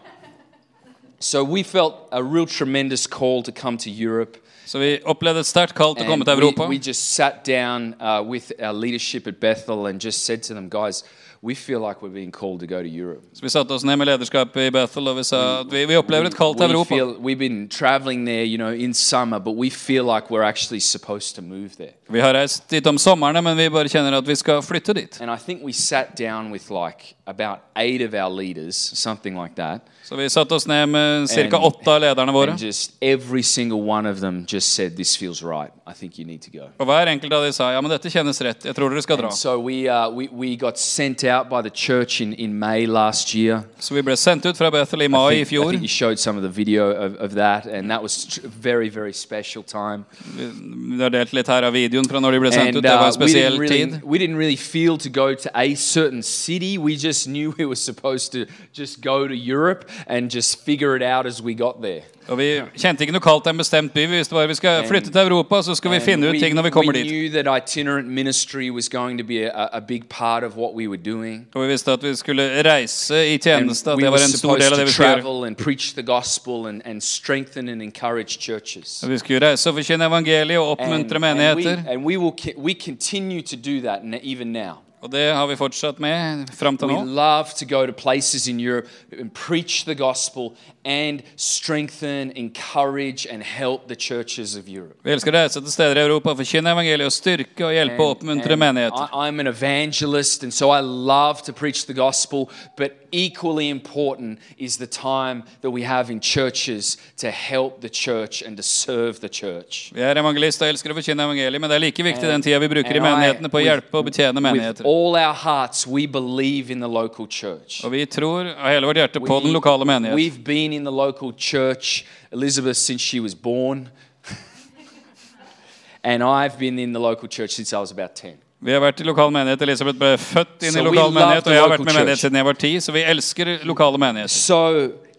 Speaker 4: So we felt a real tremendous call to come to Europe.
Speaker 5: så vi opplevde et sterkt kall til å komme
Speaker 4: And
Speaker 5: til
Speaker 4: we,
Speaker 5: Europa.
Speaker 4: we just sat down uh, with our leadership at Bethel and just said to them, guys, we feel like we're being called to go to Europe.
Speaker 5: Så vi satte oss ned med lederskapet i Bethel, og vi sa at vi, vi opplever et kall til
Speaker 4: We
Speaker 5: Europa.
Speaker 4: feel, we've been traveling there, you know, in summer, but we feel like we're actually supposed to move there.
Speaker 5: Vi har reist dit om sommerne, men vi bare kjenner at vi skal flytte dit.
Speaker 4: And I think we sat down with like about eight of our leaders, something like that.
Speaker 5: Så vi satte oss ned med
Speaker 4: And-
Speaker 5: ca. åtte av lederne våre.
Speaker 4: And just every single one of them just said, This feels right. I think you need to go.
Speaker 5: Og hver enkelt av de sa ja, men dette kjennes rett. Jeg tror dere skal dra.
Speaker 4: And so we, uh, we, we got sent out by the church in, in May last year.
Speaker 5: Så vi ble sendt ut fra Bethel i mai i
Speaker 4: think- I
Speaker 5: fjor.
Speaker 4: think you showed some of the video of, of that, and that was tr- very, very special time.
Speaker 5: Vi har delt litt her av videoen fra når de ble sendt ut.
Speaker 4: And
Speaker 5: Det
Speaker 4: uh,
Speaker 5: var en
Speaker 4: we, didn't
Speaker 5: spesiell
Speaker 4: really,
Speaker 5: tid.
Speaker 4: we didn't really feel to go to a certain city. We just knew we were supposed to just go to Europe and just figure it out as we got there.
Speaker 5: Og vi kjente ikke noe kaldt til en bestemt by. Vi visste bare vi skal flytte til Europa, så skal vi
Speaker 4: And
Speaker 5: finne ut ting når vi kommer
Speaker 4: we
Speaker 5: dit.
Speaker 4: knew that itinerant ministry was going to be a, a big part of what we were doing.
Speaker 5: Og vi visste at vi skulle reise i tjeneste, at
Speaker 4: we
Speaker 5: det
Speaker 4: were
Speaker 5: var en stor
Speaker 4: supposed
Speaker 5: del
Speaker 4: to
Speaker 5: av det vi skulle gjøre.
Speaker 4: travel and preach the gospel and, and strengthen and encourage churches.
Speaker 5: Så vi skulle reise og forkynne evangeliet og
Speaker 4: And,
Speaker 5: oppmuntre
Speaker 4: and we,
Speaker 5: menigheter.
Speaker 4: and we will co- we continue to do that n- even now.
Speaker 5: Og det har vi fortsatt med fram til
Speaker 4: We
Speaker 5: nå.
Speaker 4: love to go to places in Europe and preach the gospel and strengthen, encourage, and help the churches of Europe.
Speaker 5: Vi elsker å reise til steder i Europa, forkynne evangeliet og styrke og hjelpe og oppmuntre menigheter.
Speaker 4: I, am an evangelist, and so I love to preach the gospel, but equally important is the time that we have in churches to help the church and to serve the church.
Speaker 5: Vi er evangelister og elsker å forkynne evangeliet, men det er like viktig den tida vi bruker i
Speaker 4: and I-
Speaker 5: menighetene på å
Speaker 4: Eh, with-
Speaker 5: hjelpe og betjene
Speaker 4: With
Speaker 5: menigheter.
Speaker 4: all our hearts, we believe in the local church.
Speaker 5: Og vi tror av hele vårt hjerte på den lokale menighet.
Speaker 4: We've been in the local church, Elizabeth, since she was born. and I've been in the local church since I was about 10.
Speaker 5: Vi har vært i lokal menighet. Elisabeth ble født inn
Speaker 4: So
Speaker 5: i
Speaker 4: we
Speaker 5: lokal
Speaker 4: love
Speaker 5: menighet,
Speaker 4: the
Speaker 5: og jeg har
Speaker 4: local
Speaker 5: vært med menighet
Speaker 4: church.
Speaker 5: siden jeg var ti, så vi elsker lokale menigheter.
Speaker 4: So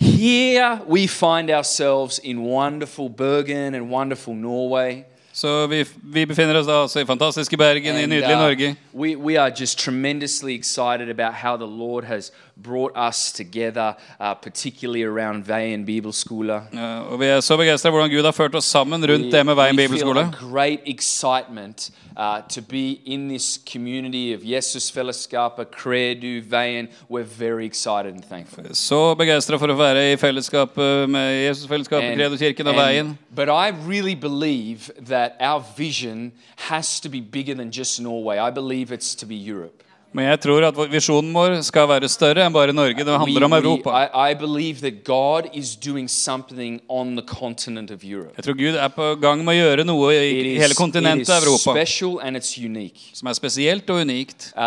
Speaker 4: here we find ourselves in wonderful Bergen and wonderful Norway.
Speaker 5: Så vi, vi befinner oss da altså i fantastiske Bergen, i
Speaker 4: And,
Speaker 5: nydelige
Speaker 4: uh,
Speaker 5: Norge.
Speaker 4: we, we are just tremendously excited about how the Lord has brought us together, uh, particularly around Veien Bibelskole.
Speaker 5: Ja, og vi er så begeistra hvordan Gud har ført oss sammen rundt det med Veien
Speaker 4: We feel
Speaker 5: bibelskole.
Speaker 4: a great excitement uh, to be in this community of Jesus Fellesskapet, Credu, Veien. We're very excited and thankful.
Speaker 5: Så begeistra for å være i fellesskapet med Jesusfellesskapet, Kredoskirken og Veien.
Speaker 4: but I really believe that our vision has to be bigger than just Norway. I believe it's to be Europe.
Speaker 5: Men jeg tror at vår- visjonen vår skal være større enn bare Norge. Det handler om
Speaker 4: We- we-
Speaker 5: Europa.
Speaker 4: I, I believe that God is doing something on the continent of Europe.
Speaker 5: Jeg tror Gud er på gang med å gjøre noe i i hele
Speaker 4: it
Speaker 5: kontinentet
Speaker 4: is
Speaker 5: Europa
Speaker 4: special and it's unique.
Speaker 5: som er spesielt og unikt.
Speaker 4: Uh,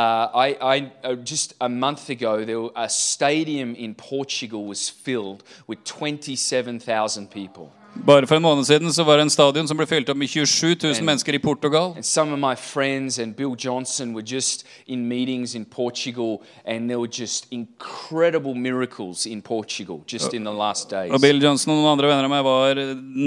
Speaker 4: I, I uh, just a month ago, there were, a stadium in Portugal was filled with 27,000 people.
Speaker 5: Bare for en måned siden så var det en stadion som ble fylt opp med 27 000 mennesker i Portugal.
Speaker 4: And some of my friends and Bill Johnson were just in meetings in Portugal, and there were just incredible miracles in Portugal just in the last days.
Speaker 5: Og Bill Johnson og noen andre venner av meg var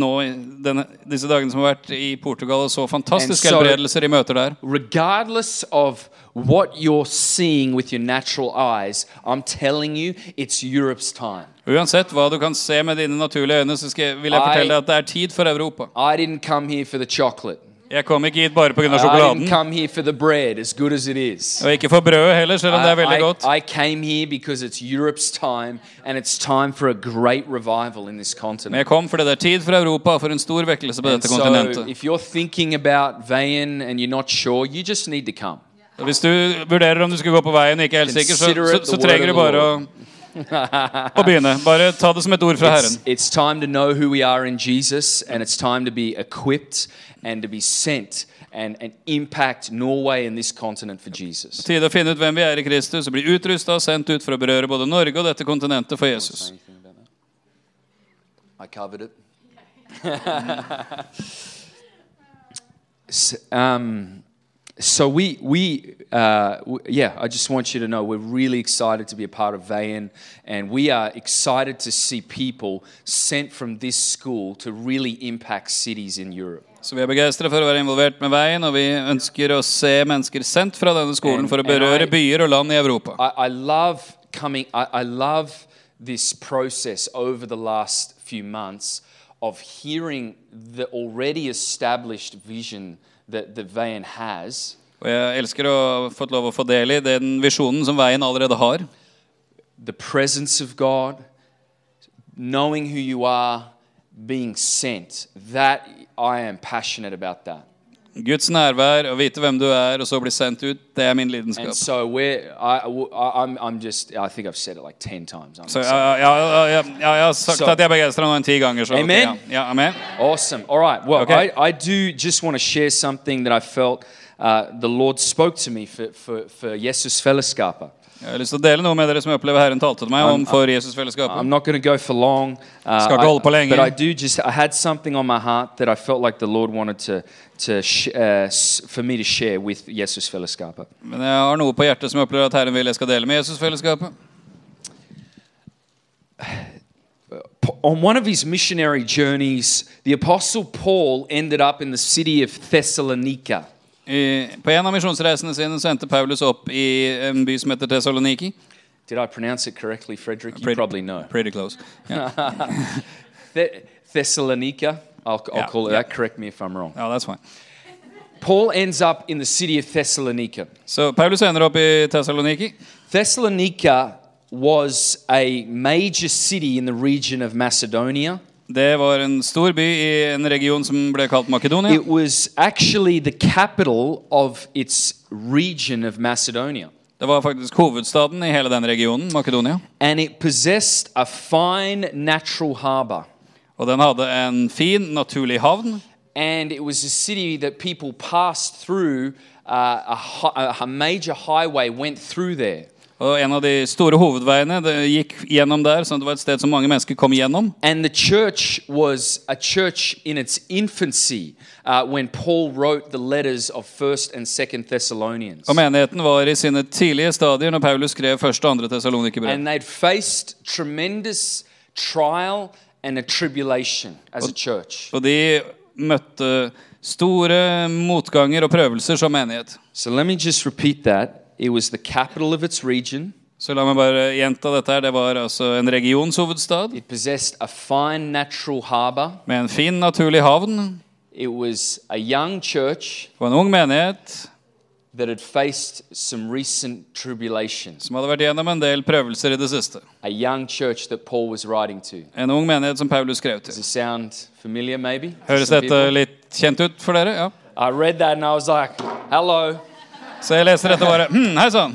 Speaker 5: nå i denne, disse dagene som har vært i Portugal og så fantastiske
Speaker 4: And so-
Speaker 5: helbredelser i møter der.
Speaker 4: Regardless of what you're seeing with your natural eyes, I'm telling you, it's Europe's time.
Speaker 5: Uansett hva du kan se med dine naturlige øyne, så skal, jeg- vil jeg
Speaker 4: I-
Speaker 5: fortelle deg at det er tid for Europa.
Speaker 4: I didn't come here for the chocolate.
Speaker 5: Jeg kom ikke hit bare pga.
Speaker 4: I didn't
Speaker 5: sjokoladen.
Speaker 4: come here for the bread, as good as it is.
Speaker 5: Og ikke for brødet heller, selv om det er
Speaker 4: Uh, I,
Speaker 5: veldig
Speaker 4: I-
Speaker 5: godt.
Speaker 4: I came here because it's Europe's time, and it's time for a great revival in this
Speaker 5: Men
Speaker 4: continent.
Speaker 5: jeg kom fordi det er tid for Europa og for en stor vekkelse på
Speaker 4: And
Speaker 5: dette
Speaker 4: so,
Speaker 5: kontinentet.
Speaker 4: if you're thinking about Vayan and you're not sure, you just need to come.
Speaker 5: Og Hvis du vurderer om du skulle gå på veien og ikke er helt sikker, så,
Speaker 4: Consider
Speaker 5: så,
Speaker 4: it the
Speaker 5: så
Speaker 4: word
Speaker 5: trenger
Speaker 4: of
Speaker 5: du bare å, å begynne. Bare ta det som et ord fra
Speaker 4: It's,
Speaker 5: Herren.
Speaker 4: it's time to know who we are in Jesus, and it's time to be equipped and to be sent and, and impact Norway and this continent for Jesus.
Speaker 5: Tide å finne ut hvem vi er i Kristus og bli utrusta og sendt ut for å berøre både Norge og dette kontinentet for Jesus.
Speaker 4: I covered it. S- um, so we we uh, w- yeah, I just want you to know we're really excited to be a part of Vayan, and we are excited to see people sent from this school to really impact cities in Europe.
Speaker 5: Så vi er begeistra for å være involvert med veien, og vi ønsker å se mennesker sendt fra denne skolen for å
Speaker 4: And- and
Speaker 5: berøre
Speaker 4: I-
Speaker 5: byer og land i Europa.
Speaker 4: I, I love coming. I, I love this process over the last few months of hearing the already established vision that the Van has.
Speaker 5: Og jeg elsker å ha fått lov å få del i den visjonen som veien allerede har.
Speaker 4: the presence of God, knowing who you are, being sent. That I am passionate about that.
Speaker 5: Guds nærvær, å vite hvem du er, og så bli sendt ut, det er min lidenskap.
Speaker 4: And so we're, I, I, am I'm just, I think I've said it like 10 times. I'm
Speaker 5: Så ja,
Speaker 4: excited.
Speaker 5: ja, ja, ja, ja, jeg har sagt
Speaker 4: Så-
Speaker 5: at jeg er begeistra nå en ti ganger. Så, ok,
Speaker 4: Amen.
Speaker 5: Ja, ja, amen.
Speaker 4: Awesome. All right. Well,
Speaker 5: Okay.
Speaker 4: I, I do just want to share something that I felt uh, the Lord spoke to me for, for, for Jesus Fellesskapa.
Speaker 5: Jeg har lyst til å dele noe med dere som jeg opplever Herren talte til meg om for Jesusfellesskapet.
Speaker 4: I'm not going to go for long. Uh,
Speaker 5: Skal ikke
Speaker 4: I-
Speaker 5: holde på lenge.
Speaker 4: But I do just, I had something on my heart that I felt like the Lord wanted to, to sh- uh, s- for me to share with Jesus Fellesskapa.
Speaker 5: Men jeg har noe på hjertet som jeg opplever at Herren vil jeg skal dele med Jesusfellesskapet.
Speaker 4: P- On one of his missionary journeys, the Apostle Paul ended up in the city of Thessalonica.
Speaker 5: I, på en av misjonsreisene sine så endte Paulus opp i en by som heter Thessaloniki.
Speaker 4: Did I pronounce it correctly, Frederick? You
Speaker 5: Pretty-
Speaker 4: probably know.
Speaker 5: Pretty close. Yeah,
Speaker 4: The- Thessalonica. I'll, I'll
Speaker 5: Yeah,
Speaker 4: call it
Speaker 5: yeah.
Speaker 4: that. Correct me if I'm wrong.
Speaker 5: yeah, that's fine.
Speaker 4: Paul ends up in the city of Thessalonica.
Speaker 5: Så Paulus ender opp i Thessaloniki.
Speaker 4: Thessalonica was a major city in the region of Macedonia.
Speaker 5: Det var en stor by i en region som ble kalt Makedonia.
Speaker 4: It was actually the capital of its region of Macedonia.
Speaker 5: Det var faktisk hovedstaden i hele den regionen, Makedonia.
Speaker 4: And it possessed a fine natural harbor.
Speaker 5: Og den hadde en fin, naturlig havn.
Speaker 4: And it was a city that people passed through, uh, a, hi- a major highway went through there.
Speaker 5: Og en av de store hovedveiene det gikk gjennom der, sånn at det var et sted som mange mennesker kom gjennom.
Speaker 4: And the church was a church in its infancy uh, when Paul wrote the letters of 1st and 2nd Thessalonians.
Speaker 5: Og menigheten var i sine tidlige stadier når Paulus skrev første og andre Tessalonikerbrev.
Speaker 4: And they'd faced tremendous trial and a tribulation as a church.
Speaker 5: Og de møtte store motganger og prøvelser som menighet.
Speaker 4: So let me just repeat that. It was the capital of its region.
Speaker 5: Så la meg bare gjenta dette her. Det var altså en regionshovedstad
Speaker 4: It possessed a fine natural harbor.
Speaker 5: med en fin, naturlig havn.
Speaker 4: It was a young church
Speaker 5: Det var en ung menighet
Speaker 4: that had faced some recent tribulations.
Speaker 5: som hadde vært gjennom en del prøvelser i det siste.
Speaker 4: A young church that Paul was writing to.
Speaker 5: En ung menighet som Paulus skrev til.
Speaker 4: Does it sound familiar, maybe? to
Speaker 5: Høres
Speaker 4: some
Speaker 5: dette
Speaker 4: people?
Speaker 5: litt kjent ut for dere? Ja.
Speaker 4: I read that and I was like, hello.
Speaker 5: Så jeg leser dette og bare hm, Hei sann!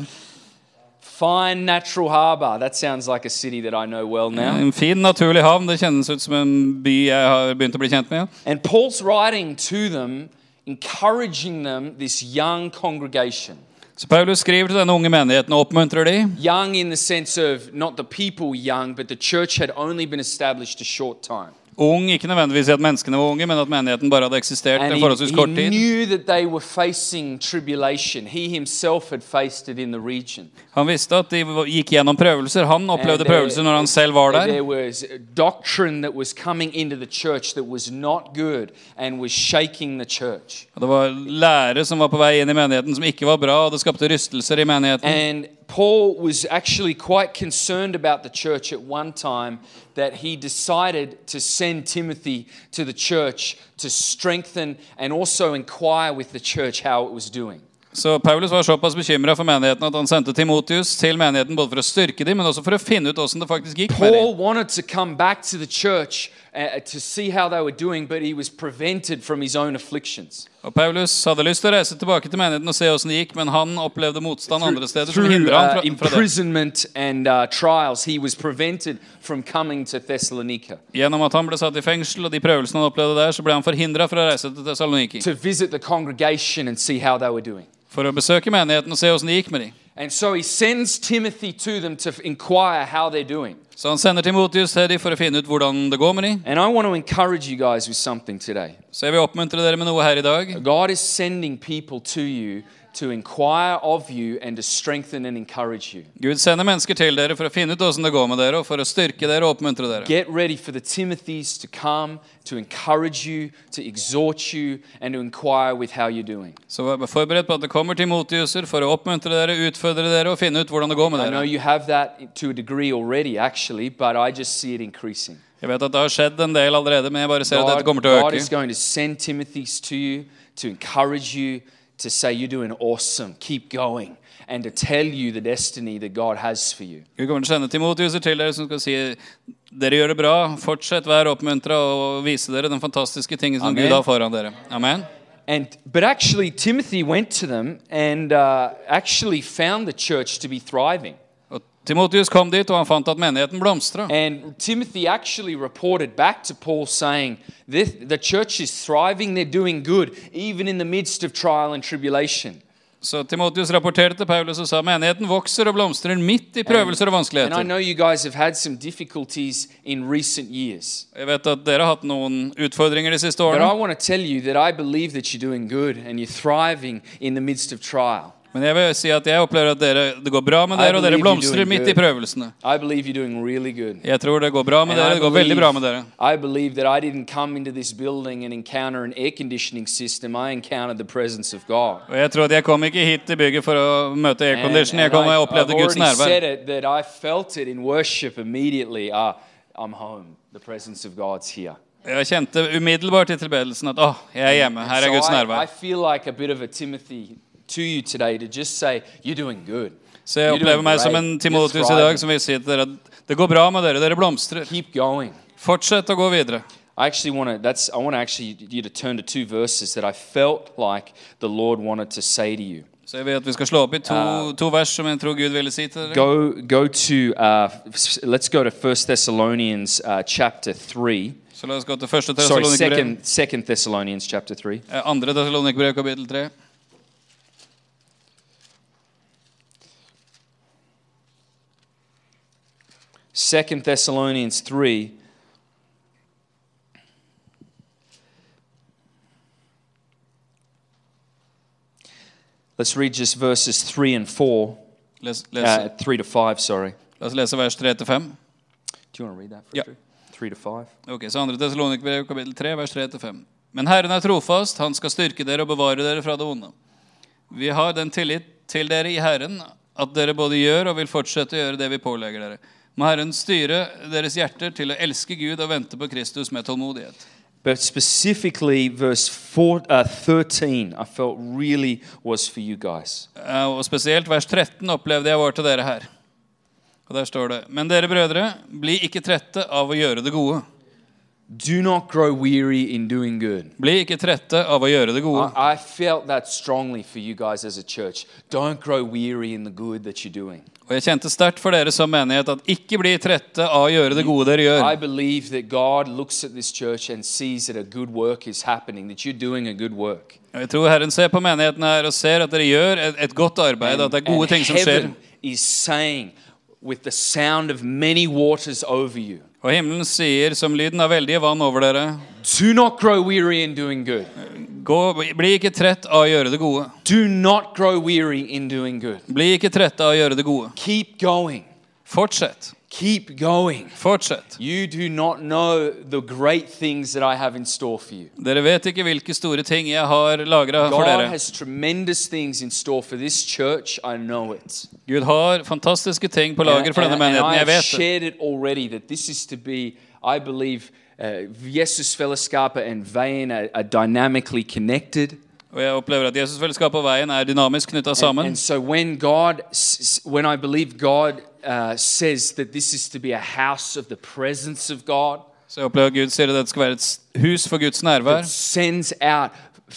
Speaker 4: Fine natural harbor. That sounds like a city that I know well now.
Speaker 5: En fin, naturlig havn. Det kjennes ut som en by jeg har begynt å bli kjent med. Ja.
Speaker 4: And Paul's writing to them, encouraging them, this young congregation.
Speaker 5: Så Paulus skriver til denne unge menigheten og oppmuntrer de.
Speaker 4: Young in the sense of not the people young, but the church had only been established a short time.
Speaker 5: Ung, ikke nødvendigvis i at menneskene var unge, men at menigheten bare hadde eksistert
Speaker 4: And
Speaker 5: en
Speaker 4: he,
Speaker 5: forholdsvis
Speaker 4: he
Speaker 5: kort tid.
Speaker 4: knew that they were facing tribulation. He himself had faced it in the region.
Speaker 5: Han visste at de var- gikk gjennom prøvelser. Han opplevde prøvelser når han selv var der.
Speaker 4: uh, there was doctrine that was coming into the church that was not good and was shaking the church.
Speaker 5: Og det var lærere som var på vei inn i menigheten som ikke var bra, og det skapte rystelser i menigheten.
Speaker 4: And Paul was actually quite concerned about the church at one time that he decided to send Timothy to the church to strengthen and also inquire with the church how it was doing.
Speaker 5: Så Paulus var såpass bekymra for menigheten at han sendte Timotius til menigheten både for å styrke dem, men også for å finne ut åssen det faktisk gikk med
Speaker 4: Paul
Speaker 5: dem.
Speaker 4: wanted to come back to the church uh, to see how they were doing, but he was prevented from his own afflictions
Speaker 5: Og Paulus hadde lyst til å reise tilbake til menigheten og se åssen det gikk, men han opplevde motstand andre steder som
Speaker 4: through
Speaker 5: hindra
Speaker 4: uh,
Speaker 5: han fra, fra det.
Speaker 4: imprisonment and uh, trials. He was prevented from coming to Thessalonica
Speaker 5: Gjennom at han ble satt i fengsel og de prøvelsene han opplevde der, så ble han forhindra fra å reise til Thessaloniki
Speaker 4: to visit the congregation and see how they were doing.
Speaker 5: for å besøke menigheten og se åssen det gikk med dem.
Speaker 4: And so he sends Timothy to them to inquire how they're doing.
Speaker 5: Så han sender Timotius til dem for å finne ut hvordan det går med dem.
Speaker 4: And I want to encourage you guys with something today.
Speaker 5: Så jeg vil oppmuntre dere med noe her i dag.
Speaker 4: God is sending people to you to inquire of you and to strengthen and encourage you.
Speaker 5: Gud sender mennesker til dere for å finne ut åssen det går med dere, og for å styrke dere og oppmuntre dere.
Speaker 4: Get ready for the Timothys to come, to encourage you, to exhort you, and to inquire with how you're doing.
Speaker 5: Så vær forberedt på at det kommer Timotiuser for å oppmuntre dere, utfordre dere og finne ut hvordan det går med
Speaker 4: I know
Speaker 5: dere.
Speaker 4: you have that to a degree already, actually, but I just see it increasing.
Speaker 5: Jeg vet at det har skjedd en del allerede, men jeg bare ser at
Speaker 4: God,
Speaker 5: dette kommer til å
Speaker 4: God is
Speaker 5: øke.
Speaker 4: going to send Timothys to you to encourage you, to say you're doing awesome, keep going, and to tell you the destiny that God has for you.
Speaker 5: Gud kommer til å sende Timotiuser til dere som skal si dere gjør det bra, fortsett, vær oppmuntra og vise dere den fantastiske tingen som
Speaker 4: Amen.
Speaker 5: Gud har foran dere. Amen.
Speaker 4: And but actually, Timothy went to them and uh, actually found the church to be thriving.
Speaker 5: Og Timotius kom dit, og han fant at menigheten blomstra.
Speaker 4: And Timothy actually reported back to Paul saying, this, The church is thriving, they're doing good, even in the midst of trial and tribulation.
Speaker 5: Så Timotius rapporterte til Paulus og sa menigheten vokser og blomstrer midt i prøvelser
Speaker 4: And
Speaker 5: og
Speaker 4: I
Speaker 5: vanskeligheter.
Speaker 4: know you guys have had some difficulties in recent years,
Speaker 5: Jeg vet at dere har hatt noen utfordringer de siste
Speaker 4: but I
Speaker 5: årene,
Speaker 4: want to tell you that I believe that you're doing good and you're thriving in the midst of trial.
Speaker 5: men jeg vil si at jeg opplever at dere, det går bra med dere, og dere blomstrer midt i prøvelsene.
Speaker 4: I believe you're doing really good.
Speaker 5: Jeg tror det går bra med
Speaker 4: And I
Speaker 5: dere. Det går veldig bra med dere.
Speaker 4: believe- I believe that I didn't come into this building and encounter an air conditioning system. I encountered the presence of God.
Speaker 5: Og jeg tror at jeg kom ikke hit til bygget for å
Speaker 4: And-
Speaker 5: møte aircondition. Jeg
Speaker 4: and
Speaker 5: kom
Speaker 4: I-
Speaker 5: og opplevde Guds
Speaker 4: I've already said
Speaker 5: nærvær.
Speaker 4: it that I felt it in worship immediately. Ah, I'm home. The presence of God's here.
Speaker 5: Jeg kjente umiddelbart i tilbedelsen at åh, jeg er hjemme. Her er
Speaker 4: so
Speaker 5: Guds
Speaker 4: I, I
Speaker 5: nærvær.
Speaker 4: feel like a bit of a Timothy to you today to just say you're doing good.
Speaker 5: Så jeg
Speaker 4: You're
Speaker 5: opplever
Speaker 4: doing
Speaker 5: meg som
Speaker 4: great.
Speaker 5: en
Speaker 4: You're
Speaker 5: Timotius i
Speaker 4: thriving.
Speaker 5: dag som vil si til dere at det går bra med dere. Dere blomstrer.
Speaker 4: Keep going.
Speaker 5: Fortsett å gå videre.
Speaker 4: I actually want to. That's. I want to actually you to turn to two verses that I felt like the Lord wanted to say to you.
Speaker 5: Så jeg vil at vi skal slå opp i to, to vers som jeg tror Gud ville si til dere.
Speaker 4: Go. Go to. Uh, f- let's go to First Thessalonians uh, chapter three.
Speaker 5: Så la oss gå til første
Speaker 4: Sorry,
Speaker 5: Thessalonikerbrev.
Speaker 4: second. Second Thessalonians chapter three.
Speaker 5: Eh, Andre Thessalonikerbrev, kapittel tre.
Speaker 4: Second Thessalonians three. Let's read just verses three and four, uh,
Speaker 5: Les, les,
Speaker 4: three to five. Sorry.
Speaker 5: la oss lese vers tre til fem.
Speaker 4: Do you want to read that? For
Speaker 5: Yeah.
Speaker 4: Drew? Three to five.
Speaker 5: Ok, så 2. Tessalonikerbrev kapittel 3, vers 3-5. Men Herren er trofast, han skal styrke dere og bevare dere fra det onde. Vi har den tillit til dere i Herren at dere både gjør og vil fortsette å gjøre det vi pålegger dere. Må Herren styre deres hjerter til å elske Gud og vente på Kristus med tålmodighet.
Speaker 4: But specifically, verse four, uh, 13, I felt really was for you guys.
Speaker 5: Eh, Og spesielt vers 13 opplevde jeg var til dere her. Og der står det Men dere brødre, bli ikke trette av å gjøre det gode.
Speaker 4: Do not grow weary in doing good.
Speaker 5: Bli ikke trette av å gjøre det gode.
Speaker 4: I, I felt that strongly for you guys as a church. Don't grow weary in the good that you're doing.
Speaker 5: Og jeg kjente sterkt for dere som menighet at ikke bli trette av å gjøre det gode dere gjør.
Speaker 4: I believe that God looks at this church and sees that a good work is happening, that you're doing a good work.
Speaker 5: Og Jeg tror Herren ser på menigheten her og ser at dere gjør et, et godt arbeid, at det er gode ting som skjer.
Speaker 4: heaven is saying, with the sound of many waters over you,
Speaker 5: Og himmelen sier som lyden av veldige vann over dere,
Speaker 4: do not grow weary in doing good.
Speaker 5: gå, bli ikke trett av å gjøre det gode.
Speaker 4: Do not grow weary in doing good.
Speaker 5: Bli ikke trett av å gjøre det gode.
Speaker 4: Keep going.
Speaker 5: Fortsett.
Speaker 4: Keep going.
Speaker 5: Fortsett.
Speaker 4: You do not know the great things that I have in store for you.
Speaker 5: Dere vet ikke hvilke store ting jeg har lagra for
Speaker 4: God
Speaker 5: dere.
Speaker 4: has tremendous things in store for this church. I know it.
Speaker 5: Gud har fantastiske ting på
Speaker 4: And,
Speaker 5: lager for denne
Speaker 4: and- and
Speaker 5: menigheten.
Speaker 4: I
Speaker 5: Jeg
Speaker 4: have
Speaker 5: vet det.
Speaker 4: shared it already that this is to be, I believe, uh, Jesus Fellowskapa and Vein are, are dynamically connected.
Speaker 5: Og jeg opplever at Jesusfellesskapet og veien er dynamisk knytta
Speaker 4: And,
Speaker 5: sammen.
Speaker 4: and so when God, s- s- when I believe God uh, says that this is to be a house of the presence of God,
Speaker 5: Så jeg opplever at Gud sier at dette skal være et s- hus for Guds nærvær.
Speaker 4: that sends out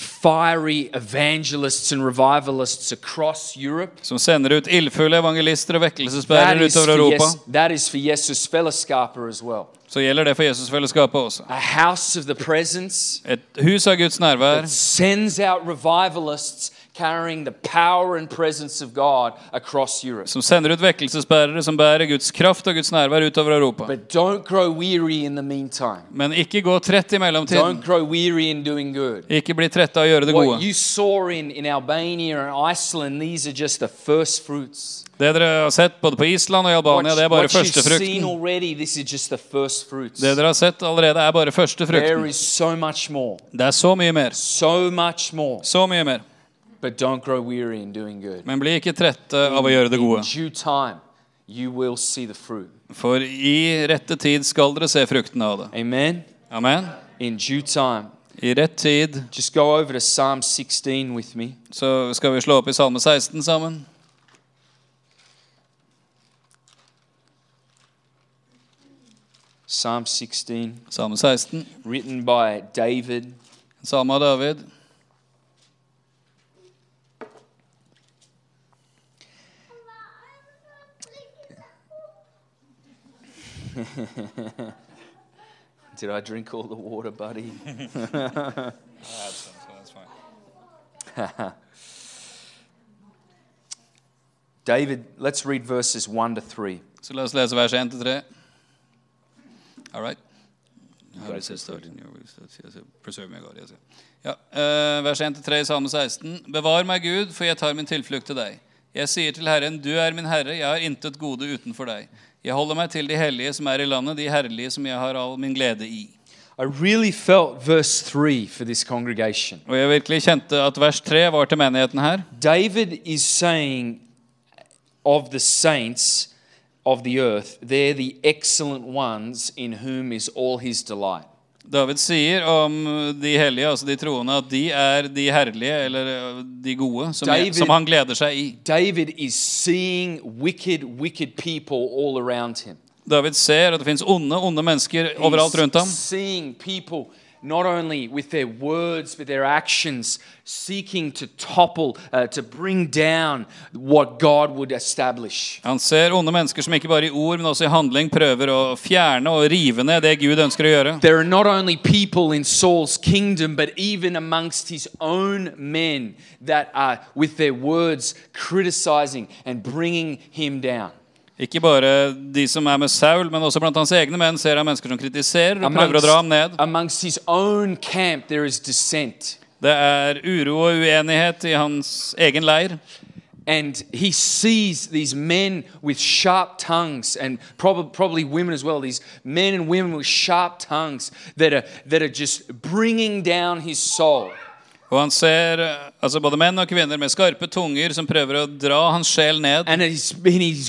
Speaker 4: fiery evangelists and revivalists across Europe.
Speaker 5: Som sender ut ildfulle evangelister og
Speaker 4: That
Speaker 5: vekkelsesbærere
Speaker 4: is, for
Speaker 5: utover Europa.
Speaker 4: yes, that is for Jesus Fellowskapa as well.
Speaker 5: Så gjelder det for Jesusfellesskapet også.
Speaker 4: A house of the presence
Speaker 5: Et hus av Guds nærvær
Speaker 4: that sends out revivalists carrying the power and presence of God across Europe.
Speaker 5: som sender ut vekkelsesbærere som bærer Guds kraft og Guds nærvær utover Europa.
Speaker 4: But don't grow weary in the meantime.
Speaker 5: Men ikke gå trett i mellomtiden.
Speaker 4: Don't grow weary in doing good.
Speaker 5: Ikke bli trett av å gjøre det
Speaker 4: What
Speaker 5: gode.
Speaker 4: you saw in, in Albania and Iceland, these are just the first fruits.
Speaker 5: Det dere har sett både på Island og i
Speaker 4: What,
Speaker 5: Albania, det er bare
Speaker 4: what you've seen
Speaker 5: førstefrukten.
Speaker 4: already, this is just the first fruits.
Speaker 5: Det dere har sett allerede, er bare
Speaker 4: There
Speaker 5: førstefrukten.
Speaker 4: is so much more.
Speaker 5: Det er så mye mer.
Speaker 4: So much more.
Speaker 5: Så mye mer.
Speaker 4: But don't grow weary in doing good.
Speaker 5: Men bli ikke trette av å gjøre det
Speaker 4: In
Speaker 5: gode.
Speaker 4: due time, you will see the fruit.
Speaker 5: For i rette tid skal dere se fruktene av det.
Speaker 4: Amen?
Speaker 5: Amen.
Speaker 4: In due time.
Speaker 5: I rett tid
Speaker 4: Just go over to Psalm 16 with me.
Speaker 5: så skal vi slå opp i Salme 16 sammen.
Speaker 4: Psalm 16,
Speaker 5: Salme 16.
Speaker 4: written by David.
Speaker 5: Salme av David.
Speaker 4: Did I drink all the water, buddy? David, let's read verses 1 to 3.
Speaker 5: Så la oss lese vers 1 til 3. All right. Ja,
Speaker 4: Guys,
Speaker 5: vi ser starten, ja, vi ser- ser- ser- preserve meg, God, jeg ser. Ja, eh, vers 1-3 i Salme 16. Bevar meg, Gud, for jeg tar min tilflukt til deg. Jeg sier til Herren, du er min herre, jeg har intet gode utenfor deg. Jeg holder meg til de hellige som er i landet, de herlige som jeg har all min glede i.
Speaker 4: I really felt verse 3 for this congregation.
Speaker 5: Og jeg virkelig kjente at vers 3 var til menigheten her.
Speaker 4: David is saying of the saints of the earth, they're the excellent ones in whom is all his delight.
Speaker 5: David sier om de hellige, altså de troende, at de er de herlige, eller eh, de gode, som,
Speaker 4: David-
Speaker 5: som han gleder seg i.
Speaker 4: David is seeing wicked, wicked people all around him.
Speaker 5: David ser at det fins onde, onde mennesker overalt rundt ham.
Speaker 4: He's seeing people not only with their words but their actions seeking to topple, uh, to bring down what God would establish.
Speaker 5: Han ser onde mennesker som ikke bare i ord, men også i handling prøver å fjerne og rive ned det Gud ønsker å gjøre.
Speaker 4: There are not only people in Saul's kingdom, but even amongst his own men that are, with their words, criticizing and bringing him down.
Speaker 5: Ikke bare de som er med Saul, men også blant hans egne menn ser han mennesker som kritiserer og prøver å
Speaker 4: Amongst,
Speaker 5: dra ham ned.
Speaker 4: amongst his own camp, there is dissent.
Speaker 5: Det er uro og uenighet i hans egen leir.
Speaker 4: And he sees these men with sharp tongues, and prob- probably women as well, these men and women with sharp tongues that are, that are just bringing down his soul.
Speaker 5: Og han ser eh, altså både menn og kvinner med skarpe tunger som prøver å dra hans sjel ned.
Speaker 4: And he's, and he's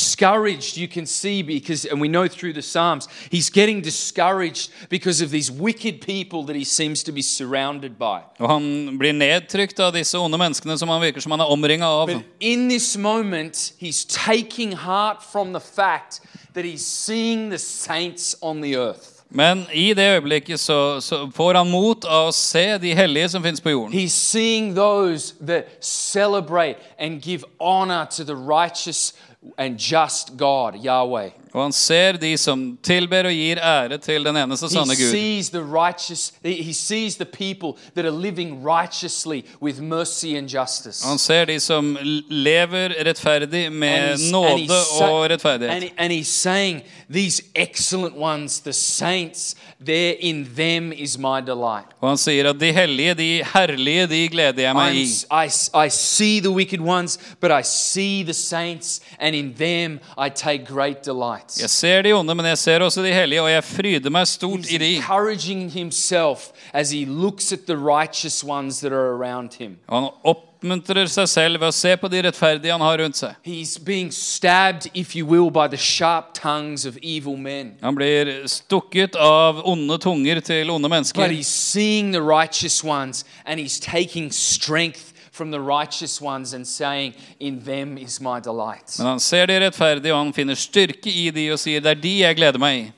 Speaker 4: discouraged, you can see, because, and we know through the Psalms, he's getting discouraged because of these wicked people that he seems to be surrounded by.
Speaker 5: Og han blir nedtrykt av disse onde menneskene som han virker som han er omringa av.
Speaker 4: But in this moment, he's taking heart from the fact that he's seeing the saints on the earth.
Speaker 5: Men i det øyeblikket så, så får han mot av å se de hellige som fins på jorden.
Speaker 4: He's seeing those that celebrate and give honor to the righteous and just God, Yahweh.
Speaker 5: Og han ser de som tilber og gir ære til den eneste
Speaker 4: He
Speaker 5: sanne Gud.
Speaker 4: sees the righteous, he he sees the people that are living righteously with mercy and justice.
Speaker 5: Han ser de som l- lever rettferdig med nåde
Speaker 4: sa-
Speaker 5: og
Speaker 4: and
Speaker 5: rettferdighet.
Speaker 4: he- and he's saying, These excellent ones, the saints, there in them is my delight.
Speaker 5: Og han sier at de hellige, de herlige, de gleder jeg meg
Speaker 4: I'm
Speaker 5: i.
Speaker 4: s- I, s- I see the wicked ones, but I see the saints, and in them I take great delight. light.
Speaker 5: Jeg ser de onde, men jeg ser også de hellige, og jeg fryder meg stort
Speaker 4: He's
Speaker 5: i de.
Speaker 4: encouraging himself as he looks at the righteous ones that are around him.
Speaker 5: Og han oppmuntrer seg selv ved å se på de rettferdige han har rundt seg.
Speaker 4: He's being stabbed, if you will, by the sharp tongues of evil men.
Speaker 5: Han blir stukket av onde tunger til onde
Speaker 4: But
Speaker 5: mennesker.
Speaker 4: he's seeing the righteous ones and he's taking strength from the righteous ones and saying, In them is my delight.
Speaker 5: Men han ser de rettferdige, og han finner styrke i de og sier, 'Det er de jeg gleder meg i'.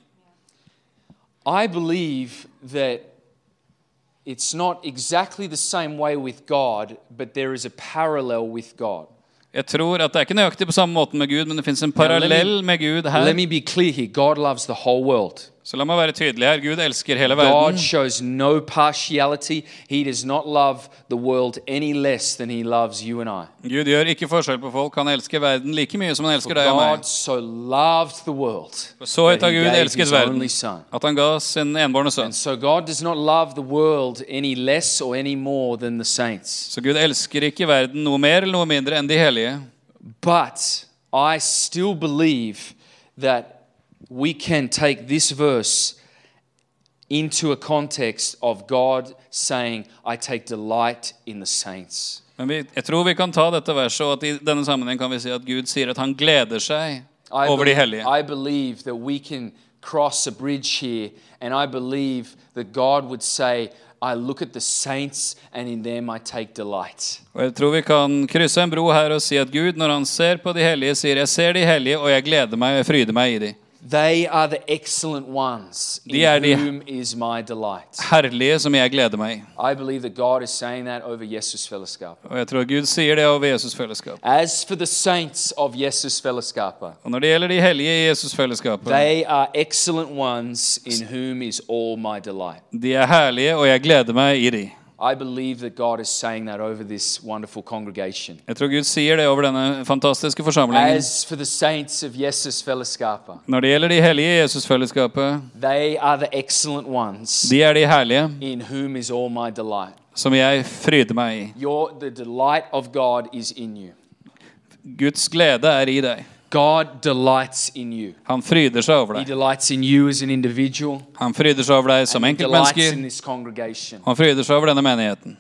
Speaker 4: I believe that it's not exactly the same way with God, but there is a parallel with God.
Speaker 5: Jeg tror at det er ikke nøyaktig på samme måten med Gud, men det fins en
Speaker 4: let me-
Speaker 5: parallell med Gud her.
Speaker 4: Let me be clear here God loves the whole world.
Speaker 5: Så la meg være tydelig her. Gud elsker hele
Speaker 4: God
Speaker 5: verden.
Speaker 4: shows no partiality. He does not love the world any less than he loves you and I.
Speaker 5: Gud gjør ikke forskjell på folk. Han elsker verden like mye som han elsker deg og
Speaker 4: God
Speaker 5: meg.
Speaker 4: so loved the world
Speaker 5: Så høyt
Speaker 4: that
Speaker 5: har
Speaker 4: he
Speaker 5: Gud
Speaker 4: gave
Speaker 5: elsket
Speaker 4: his
Speaker 5: verden
Speaker 4: only son.
Speaker 5: at han ga sin enbårne sønn.
Speaker 4: And so God does not love the world any less or any more than the saints.
Speaker 5: Så Gud elsker ikke verden noe mer eller noe mindre enn de hellige.
Speaker 4: But I still believe that we can take this verse into a context of God saying, I take delight in the saints.
Speaker 5: Men vi, jeg tror vi kan ta dette verset, og at i denne sammenheng kan vi si at Gud sier at han gleder seg
Speaker 4: I,
Speaker 5: over de
Speaker 4: believe-
Speaker 5: hellige.
Speaker 4: I believe that we can cross a bridge here, and I believe that God would say, I look at the saints, and in them I take delight.
Speaker 5: Og jeg tror vi kan krysse en bro her og si at Gud, når han ser på de hellige, sier 'Jeg ser de hellige, og jeg gleder meg og jeg fryder meg i de'.
Speaker 4: They are the excellent ones in
Speaker 5: De er de-
Speaker 4: whom is my delight.
Speaker 5: Herlige som jeg gleder meg i.
Speaker 4: I believe that God is saying that over Jesus Fellowskap.
Speaker 5: Og jeg tror Gud sier det over Jesus fellesskap.
Speaker 4: As for the saints of Jesus Fellowskap,
Speaker 5: Og når det gjelder de hellige i Jesus fellesskapet,
Speaker 4: they are excellent ones in whom is all my delight.
Speaker 5: de er herlige, og jeg gleder meg i de.
Speaker 4: I believe that God is saying that over this wonderful congregation.
Speaker 5: Jeg tror Gud sier det over denne fantastiske forsamlingen.
Speaker 4: As for the saints of Jesus Fellowskap,
Speaker 5: Når det gjelder de hellige i Jesus fellesskapet,
Speaker 4: they are the excellent ones
Speaker 5: de er de herlige
Speaker 4: in whom is all my delight.
Speaker 5: som jeg fryder meg i.
Speaker 4: Your the delight of God is in you.
Speaker 5: Guds glede er i deg.
Speaker 4: God delights in you.
Speaker 5: Han fryder seg over
Speaker 4: He
Speaker 5: deg.
Speaker 4: delights in you as an individual.
Speaker 5: Han fryder seg over deg som
Speaker 4: and he delights in
Speaker 5: enkeltmennesker.
Speaker 4: this congregation.
Speaker 5: Han fryder seg over denne menigheten.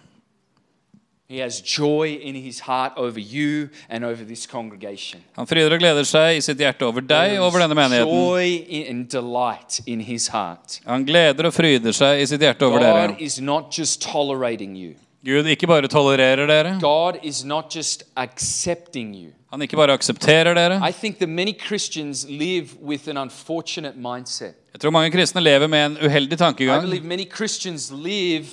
Speaker 4: He has joy in his heart over you and over this congregation.
Speaker 5: Han fryder og gleder seg i sitt hjerte over deg og over denne menigheten.
Speaker 4: Joy in- and delight in his heart.
Speaker 5: Han gleder og fryder seg i sitt hjerte over
Speaker 4: God
Speaker 5: dere.
Speaker 4: is not just tolerating you.
Speaker 5: Gud ikke bare tolererer dere,
Speaker 4: God is not just accepting you.
Speaker 5: han ikke bare aksepterer dere.
Speaker 4: I think that many Christians live with an unfortunate mindset.
Speaker 5: Jeg tror mange kristne lever med en uheldig
Speaker 4: I
Speaker 5: tankegang.
Speaker 4: believe many Christians live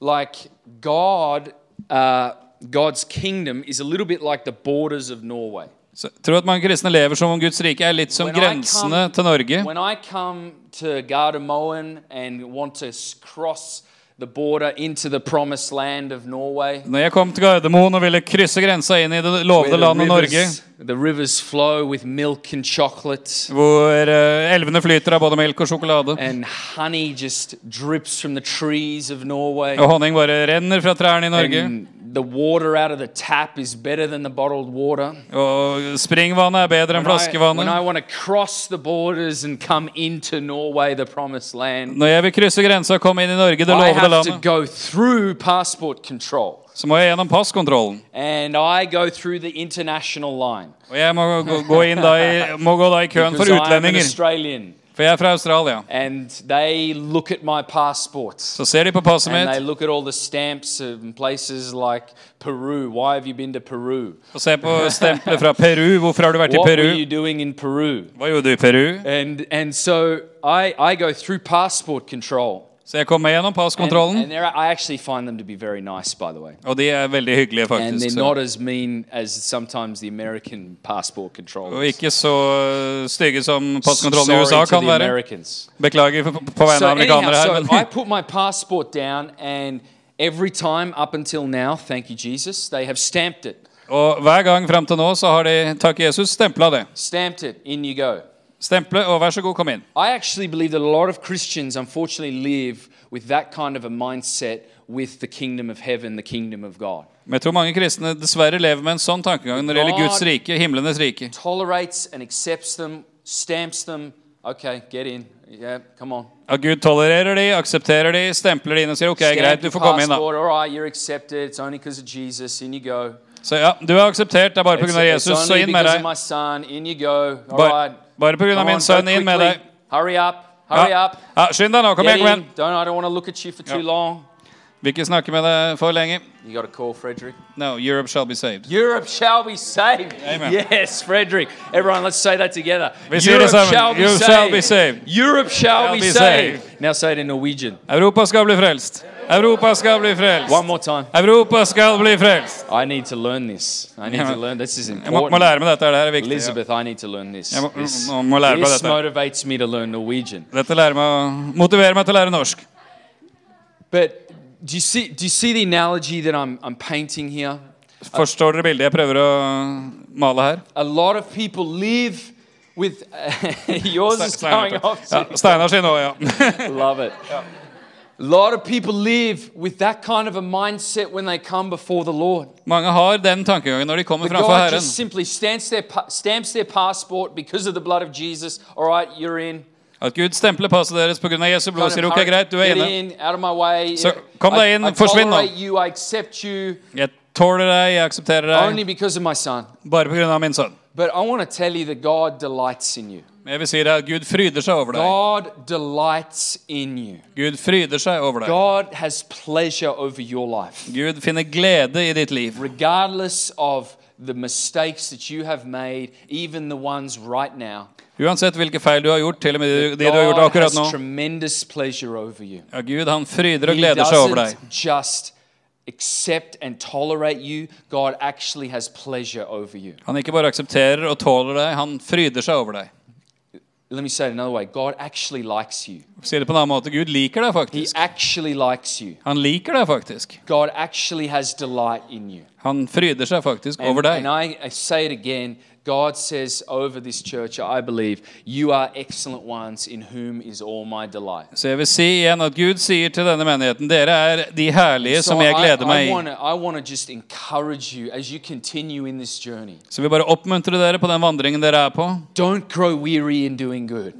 Speaker 4: like God, uh, God's kingdom is a little bit like the borders of Norway.
Speaker 5: Så Jeg tror at mange kristne lever som om Guds rike er litt som
Speaker 4: When I come-
Speaker 5: grensene til Norge.
Speaker 4: When I come to Gardermoen and want to s- cross the border into the promised land of Norway,
Speaker 5: Når jeg kom til Gardermoen og ville krysse grensa inn i det lovede landet Norge,
Speaker 4: the rivers flow with milk and chocolate,
Speaker 5: hvor eh, elvene flyter av både melk og sjokolade,
Speaker 4: and honey just drips from the trees of Norway.
Speaker 5: og honning bare renner fra trærne i Norge,
Speaker 4: And the water out of the tap is better than the bottled water.
Speaker 5: og springvannet er bedre
Speaker 4: When
Speaker 5: enn
Speaker 4: I, when I
Speaker 5: flaskevannet
Speaker 4: want to cross the borders and come into Norway, the promised land,
Speaker 5: Når jeg vil krysse grensa og komme inn i Norge, det
Speaker 4: I
Speaker 5: lovede
Speaker 4: have to
Speaker 5: landet,
Speaker 4: go through passport control.
Speaker 5: så må jeg gjennom passkontrollen.
Speaker 4: and I go through the international line
Speaker 5: Og jeg må gå, gå inn da i, må gå da i køen
Speaker 4: because
Speaker 5: for
Speaker 4: I'm an
Speaker 5: utlendinger,
Speaker 4: Australian,
Speaker 5: for jeg er fra Australia.
Speaker 4: and they look at my passport.
Speaker 5: Så ser de på passet
Speaker 4: And they
Speaker 5: mitt
Speaker 4: look at all the stamps in places like Peru. Why have you been to Peru?
Speaker 5: og ser på stempelet fra Peru. Hvorfor har du vært i
Speaker 4: What were
Speaker 5: Peru?
Speaker 4: you doing in Peru?
Speaker 5: Hva gjorde du i Peru?
Speaker 4: And and so I, I go through passport control.
Speaker 5: Så jeg kom meg gjennom
Speaker 4: And,
Speaker 5: passkontrollen,
Speaker 4: and there I actually find them to be very nice, by the way.
Speaker 5: og de er veldig hyggelige,
Speaker 4: And
Speaker 5: faktisk.
Speaker 4: they're
Speaker 5: Så.
Speaker 4: not as mean as sometimes the American passport
Speaker 5: Og
Speaker 4: controllers.
Speaker 5: ikke så øh, stygge som passkontrollen i USA
Speaker 4: Sorry to
Speaker 5: kan
Speaker 4: the
Speaker 5: være.
Speaker 4: Americans.
Speaker 5: Beklager på, på vegne
Speaker 4: So,
Speaker 5: av amerikanere her,
Speaker 4: anyhow, so I
Speaker 5: men
Speaker 4: put my passport down, and every time up until now, thank you, Jesus, they have stamped it.
Speaker 5: Og hver gang fram til nå så har de, takk Jesus, stempla det.
Speaker 4: Stamped it, in you go.
Speaker 5: Stemple, og vær så god, kom inn.
Speaker 4: I actually believe that a lot of Christians, unfortunately, live with that kind of a mindset with the kingdom of heaven, the kingdom of God.
Speaker 5: Men jeg tror mange kristne dessverre lever med en sånn tankegang når det gjelder Guds rike, himlenes rike.
Speaker 4: Tolerates and accepts them stamps them. Okay, get in. Yeah, come on.
Speaker 5: Ja, Gud tolererer de, aksepterer de, stempler de inn og sier ok,
Speaker 4: Stamp
Speaker 5: greit, du
Speaker 4: your
Speaker 5: får komme inn, da.
Speaker 4: passport. All right, you're accepted. It's only because of Jesus. In you go.
Speaker 5: Så ja, du er akseptert, det er bare
Speaker 4: It's,
Speaker 5: pga.
Speaker 4: it's
Speaker 5: Jesus, så
Speaker 4: only
Speaker 5: inn med
Speaker 4: because of
Speaker 5: deg.
Speaker 4: my son. In you go. All right.
Speaker 5: Bare, bare pga.
Speaker 4: Come on,
Speaker 5: min sønn,
Speaker 4: go
Speaker 5: inn med deg.
Speaker 4: quickly. Hurry up. Hurry
Speaker 5: Ja,
Speaker 4: up.
Speaker 5: ja skynd deg nå, kom
Speaker 4: Get
Speaker 5: igjen, kom igjen.
Speaker 4: in. Don't, I don't want to look at you for too
Speaker 5: Ja.
Speaker 4: long.
Speaker 5: Vil ikke snakke med deg for lenge.
Speaker 4: You got to call Frederick.
Speaker 5: No, Europe shall be saved.
Speaker 4: Europe shall be saved.
Speaker 5: Amen.
Speaker 4: Yes, Frederick. Everyone, let's say that together.
Speaker 5: We say this, Simon. You shall be saved.
Speaker 4: Europe shall,
Speaker 5: Shall
Speaker 4: be,
Speaker 5: be
Speaker 4: saved. Now say it in Norwegian.
Speaker 5: Europa skal bli frelst. Europa skal bli
Speaker 4: One
Speaker 5: frelst.
Speaker 4: more time.
Speaker 5: Europa skal bli frelst.
Speaker 4: I need to learn this. I need
Speaker 5: Yeah.
Speaker 4: to learn. This is
Speaker 5: Jeg må, må
Speaker 4: important.
Speaker 5: lære meg dette, det her er viktig. ja.
Speaker 4: Elizabeth, I need to learn this.
Speaker 5: Jeg må,
Speaker 4: This,
Speaker 5: må- må lære meg
Speaker 4: this
Speaker 5: dette.
Speaker 4: motivates me to learn Norwegian.
Speaker 5: Dette lærer meg å motiverer meg til å lære norsk.
Speaker 4: But do you see? Do you see the analogy that I'm, I'm painting here?
Speaker 5: Forstår dere bildet jeg prøver å male her?
Speaker 4: A lot of people live with. yours is
Speaker 5: Steinar
Speaker 4: going
Speaker 5: sin
Speaker 4: off.
Speaker 5: ja, Steinar sin også, ja.
Speaker 4: Love it. A lot of people live with that kind of a mindset when they come before the Lord.
Speaker 5: Mange har den tankegangen når de kommer framfor
Speaker 4: God
Speaker 5: Herren.
Speaker 4: just simply stamps their, pa- stamps their passport because of the blood of Jesus. All right, you're in.
Speaker 5: At Gud stempler passet deres pga. Jesu blod og sier ok, greit, du er
Speaker 4: Get
Speaker 5: inne.
Speaker 4: in, out of my way.
Speaker 5: Så kom
Speaker 4: I-
Speaker 5: deg inn,
Speaker 4: I
Speaker 5: forsvinn nå.
Speaker 4: tolerate you, I accept you,
Speaker 5: Jeg tåler deg, jeg aksepterer
Speaker 4: only
Speaker 5: deg,
Speaker 4: because of my son.
Speaker 5: bare pga. min sønn.
Speaker 4: But I want to tell you that God delights in you.
Speaker 5: Men jeg vil si deg at Gud fryder seg over deg.
Speaker 4: God delights in you.
Speaker 5: Gud fryder seg over deg.
Speaker 4: God has pleasure over your life.
Speaker 5: Gud finner glede i ditt liv.
Speaker 4: regardless of the mistakes that you have made, even the ones right now.
Speaker 5: Uansett hvilke feil du har gjort, til og med de- de du har gjort
Speaker 4: God
Speaker 5: akkurat
Speaker 4: has
Speaker 5: nå.
Speaker 4: tremendous pleasure over you.
Speaker 5: Ja, Gud han fryder og
Speaker 4: He
Speaker 5: gleder seg over deg.
Speaker 4: doesn't just accept and tolerate you. God actually has pleasure over you.
Speaker 5: Han ikke bare aksepterer og tåler deg, han fryder seg over deg.
Speaker 4: Let me say it another way. God actually likes you.
Speaker 5: Si det på en annen måte. Gud liker deg
Speaker 4: He
Speaker 5: faktisk.
Speaker 4: actually likes you.
Speaker 5: Han liker deg faktisk.
Speaker 4: God actually has delight in you.
Speaker 5: Han fryder seg faktisk
Speaker 4: And,
Speaker 5: over deg.
Speaker 4: and I, I say it again. God says over this church, I believe, you are excellent ones in whom is all my delight.
Speaker 5: Så jeg vil si igjen at Gud sier til denne menigheten Dere er de herlige som jeg gleder
Speaker 4: I,
Speaker 5: meg
Speaker 4: I
Speaker 5: i.
Speaker 4: wanna, I want to just encourage you as you continue in this journey.
Speaker 5: Så vi bare oppmuntrer dere på den vandringen dere er på.
Speaker 4: Don't grow weary in doing good.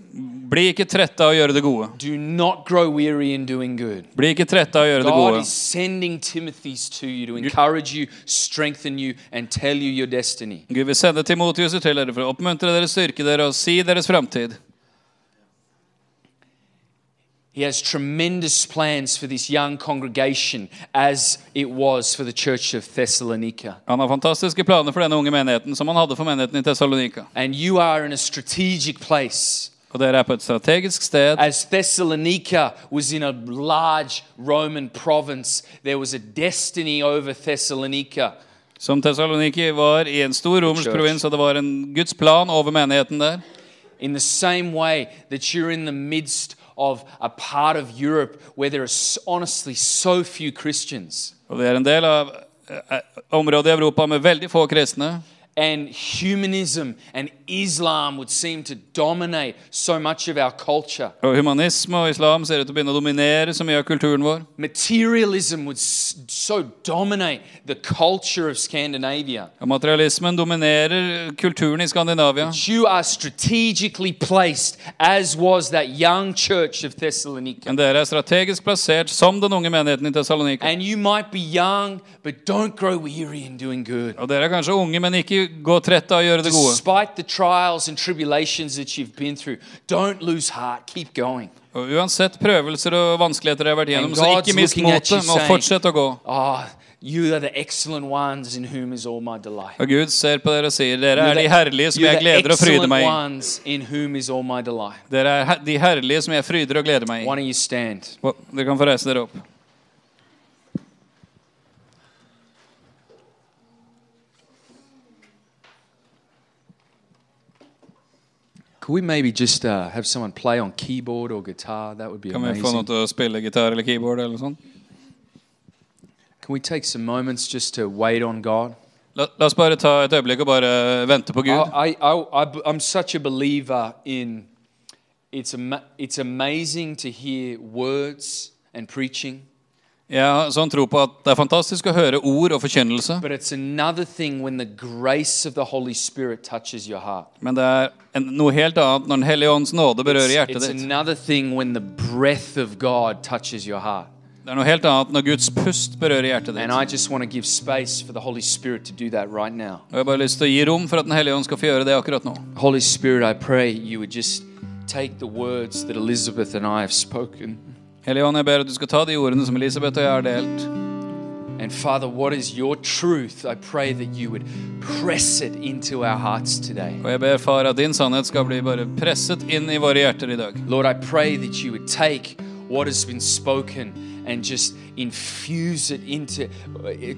Speaker 5: Bli ikke trette av å gjøre det gode.
Speaker 4: Do not grow weary in doing good.
Speaker 5: Bli ikke trette av å gjøre det
Speaker 4: God
Speaker 5: gode.
Speaker 4: is sending Timothy's to you to encourage you, strengthen you, and tell you your destiny.
Speaker 5: Gud vil sende Timotiuser til dere for å oppmuntre dere, styrke dere og si deres framtid.
Speaker 4: He has tremendous plans for this young congregation, as it was for the church of Thessalonica.
Speaker 5: Han har fantastiske planer for denne unge menigheten, som han hadde for menigheten i Tessalonika.
Speaker 4: And you are in a strategic place.
Speaker 5: Og dere er på et strategisk sted.
Speaker 4: As Thessalonica was in a large Roman province, there was a destiny over Thessalonica.
Speaker 5: Som Thessaloniki var i en stor romersk provins, og det var en Guds plan over menigheten der.
Speaker 4: In the same way that you're in the midst of a part of Europe where there are s- honestly so few Christians
Speaker 5: Og det er en del av eh, området i Europa med veldig få kristne.
Speaker 4: and humanism and Islam would seem to dominate so much of our culture.
Speaker 5: Og humanisme og islam ser ut til å begynne å dominere så mye av kulturen vår.
Speaker 4: Materialism would s- so dominate the culture of Scandinavia.
Speaker 5: Og materialismen dominerer kulturen i Skandinavia.
Speaker 4: You are strategically placed, as was that young church of Thessalonica.
Speaker 5: Men dere er strategisk plassert som den unge menigheten i Tessalonika.
Speaker 4: And you might be young, but don't grow weary in doing good.
Speaker 5: Og dere er kanskje unge, men ikke gå trett av å gjøre det gode.
Speaker 4: Despite the trials and tribulations that you've been through, don't lose heart. Keep going.
Speaker 5: Og uansett prøvelser og vanskeligheter dere har vært
Speaker 4: And
Speaker 5: gjennom, så
Speaker 4: God's
Speaker 5: ikke mist
Speaker 4: looking at you
Speaker 5: motet, men
Speaker 4: saying-
Speaker 5: fortsett å gå.
Speaker 4: Ah, you are the excellent ones in whom is all my delight.
Speaker 5: Og Gud ser på dere og sier, dere
Speaker 4: You're
Speaker 5: er
Speaker 4: the-
Speaker 5: de herlige som
Speaker 4: you're
Speaker 5: jeg
Speaker 4: the
Speaker 5: gleder og fryder
Speaker 4: excellent
Speaker 5: meg i.
Speaker 4: ones in whom is all my delight.
Speaker 5: Dere er her- de herlige som jeg fryder og gleder meg i.
Speaker 4: Why don't you stand?
Speaker 5: Hva- Dere kan få reise dere opp.
Speaker 4: Could we maybe just uh, have someone play on keyboard or guitar? That would be
Speaker 5: Kan vi få
Speaker 4: amazing.
Speaker 5: noe til å spille gitar eller keyboard eller sånn?
Speaker 4: Can we take some moments just to wait on God?
Speaker 5: La, la oss bare ta et øyeblikk og bare vente på Gud.
Speaker 4: I, I, I, I, I'm such a believer in it's, ama- it's amazing to hear words and preaching,
Speaker 5: Jeg har sånn tro på at det er fantastisk å høre ord og forkynnelse,
Speaker 4: But it's another thing when the grace of the Holy Spirit touches your heart.
Speaker 5: men det er en, noe helt annet når Den hellige ånds nåde berører hjertet
Speaker 4: It's
Speaker 5: ditt.
Speaker 4: another thing when the breath of God touches your heart.
Speaker 5: Det er noe helt annet når Guds pust berører hjertet
Speaker 4: And
Speaker 5: ditt.
Speaker 4: I just want to give space for the Holy Spirit to do that right now.
Speaker 5: Og jeg har bare lyst til å gi rom for at Den hellige ånd skal få gjøre det akkurat nå.
Speaker 4: Holy Spirit, I pray you would just take the words that Elizabeth and I have spoken.
Speaker 5: Hellige ånd, jeg ber at du skal ta de ordene som Elisabeth og jeg har delt.
Speaker 4: And Father, what is your truth? I pray that you would press it into our hearts today.
Speaker 5: Og jeg ber, far, at din sannhet skal bli bare presset inn i våre hjerter i dag.
Speaker 4: Lord, I pray that you would take what has been spoken and just infuse it into,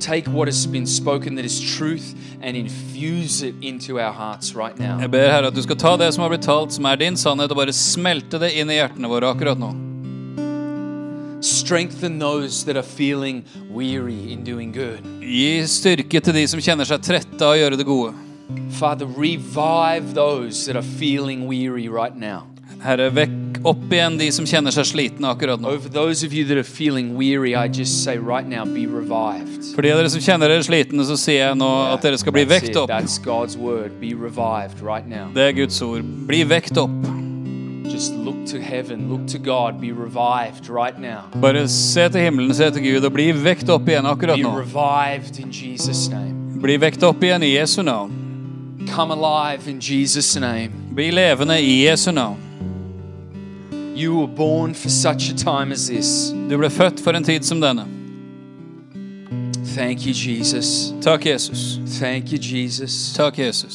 Speaker 4: take what has been spoken that is truth and infuse it into our hearts right now.
Speaker 5: Jeg ber, Herre, at du skal ta det som har blitt talt, som er din sannhet, og bare smelte det inn i hjertene våre akkurat nå.
Speaker 4: Strengthen those that are feeling weary in doing good.
Speaker 5: Gi styrke til de som kjenner seg trette av å gjøre det gode.
Speaker 4: Father, revive those that are feeling weary right now.
Speaker 5: Herre, vekk opp igjen de som kjenner seg slitne akkurat nå.
Speaker 4: Over those of you that are feeling weary, I just say right now, be revived.
Speaker 5: For de av dere som kjenner dere slitne, så sier jeg nå at dere skal bli
Speaker 4: That's
Speaker 5: vekt
Speaker 4: it.
Speaker 5: opp.
Speaker 4: That's God's word. Be revived right now.
Speaker 5: Det er Guds ord. Bli vekt opp.
Speaker 4: Just look to heaven, look to God, be revived right now.
Speaker 5: Bare se til himmelen, se til Gud, og bli vekt opp igjen akkurat
Speaker 4: Be
Speaker 5: nå.
Speaker 4: revived in Jesus' name.
Speaker 5: Bli vekt opp igjen i Jesu navn.
Speaker 4: Come alive in Jesus' name.
Speaker 5: Bli levende i Jesu navn.
Speaker 4: You were born for such a time as this.
Speaker 5: Du ble født for en tid som denne.
Speaker 4: Thank you, Jesus.
Speaker 5: Takk, Jesus.
Speaker 4: Thank you, Jesus.
Speaker 5: Takk, Jesus.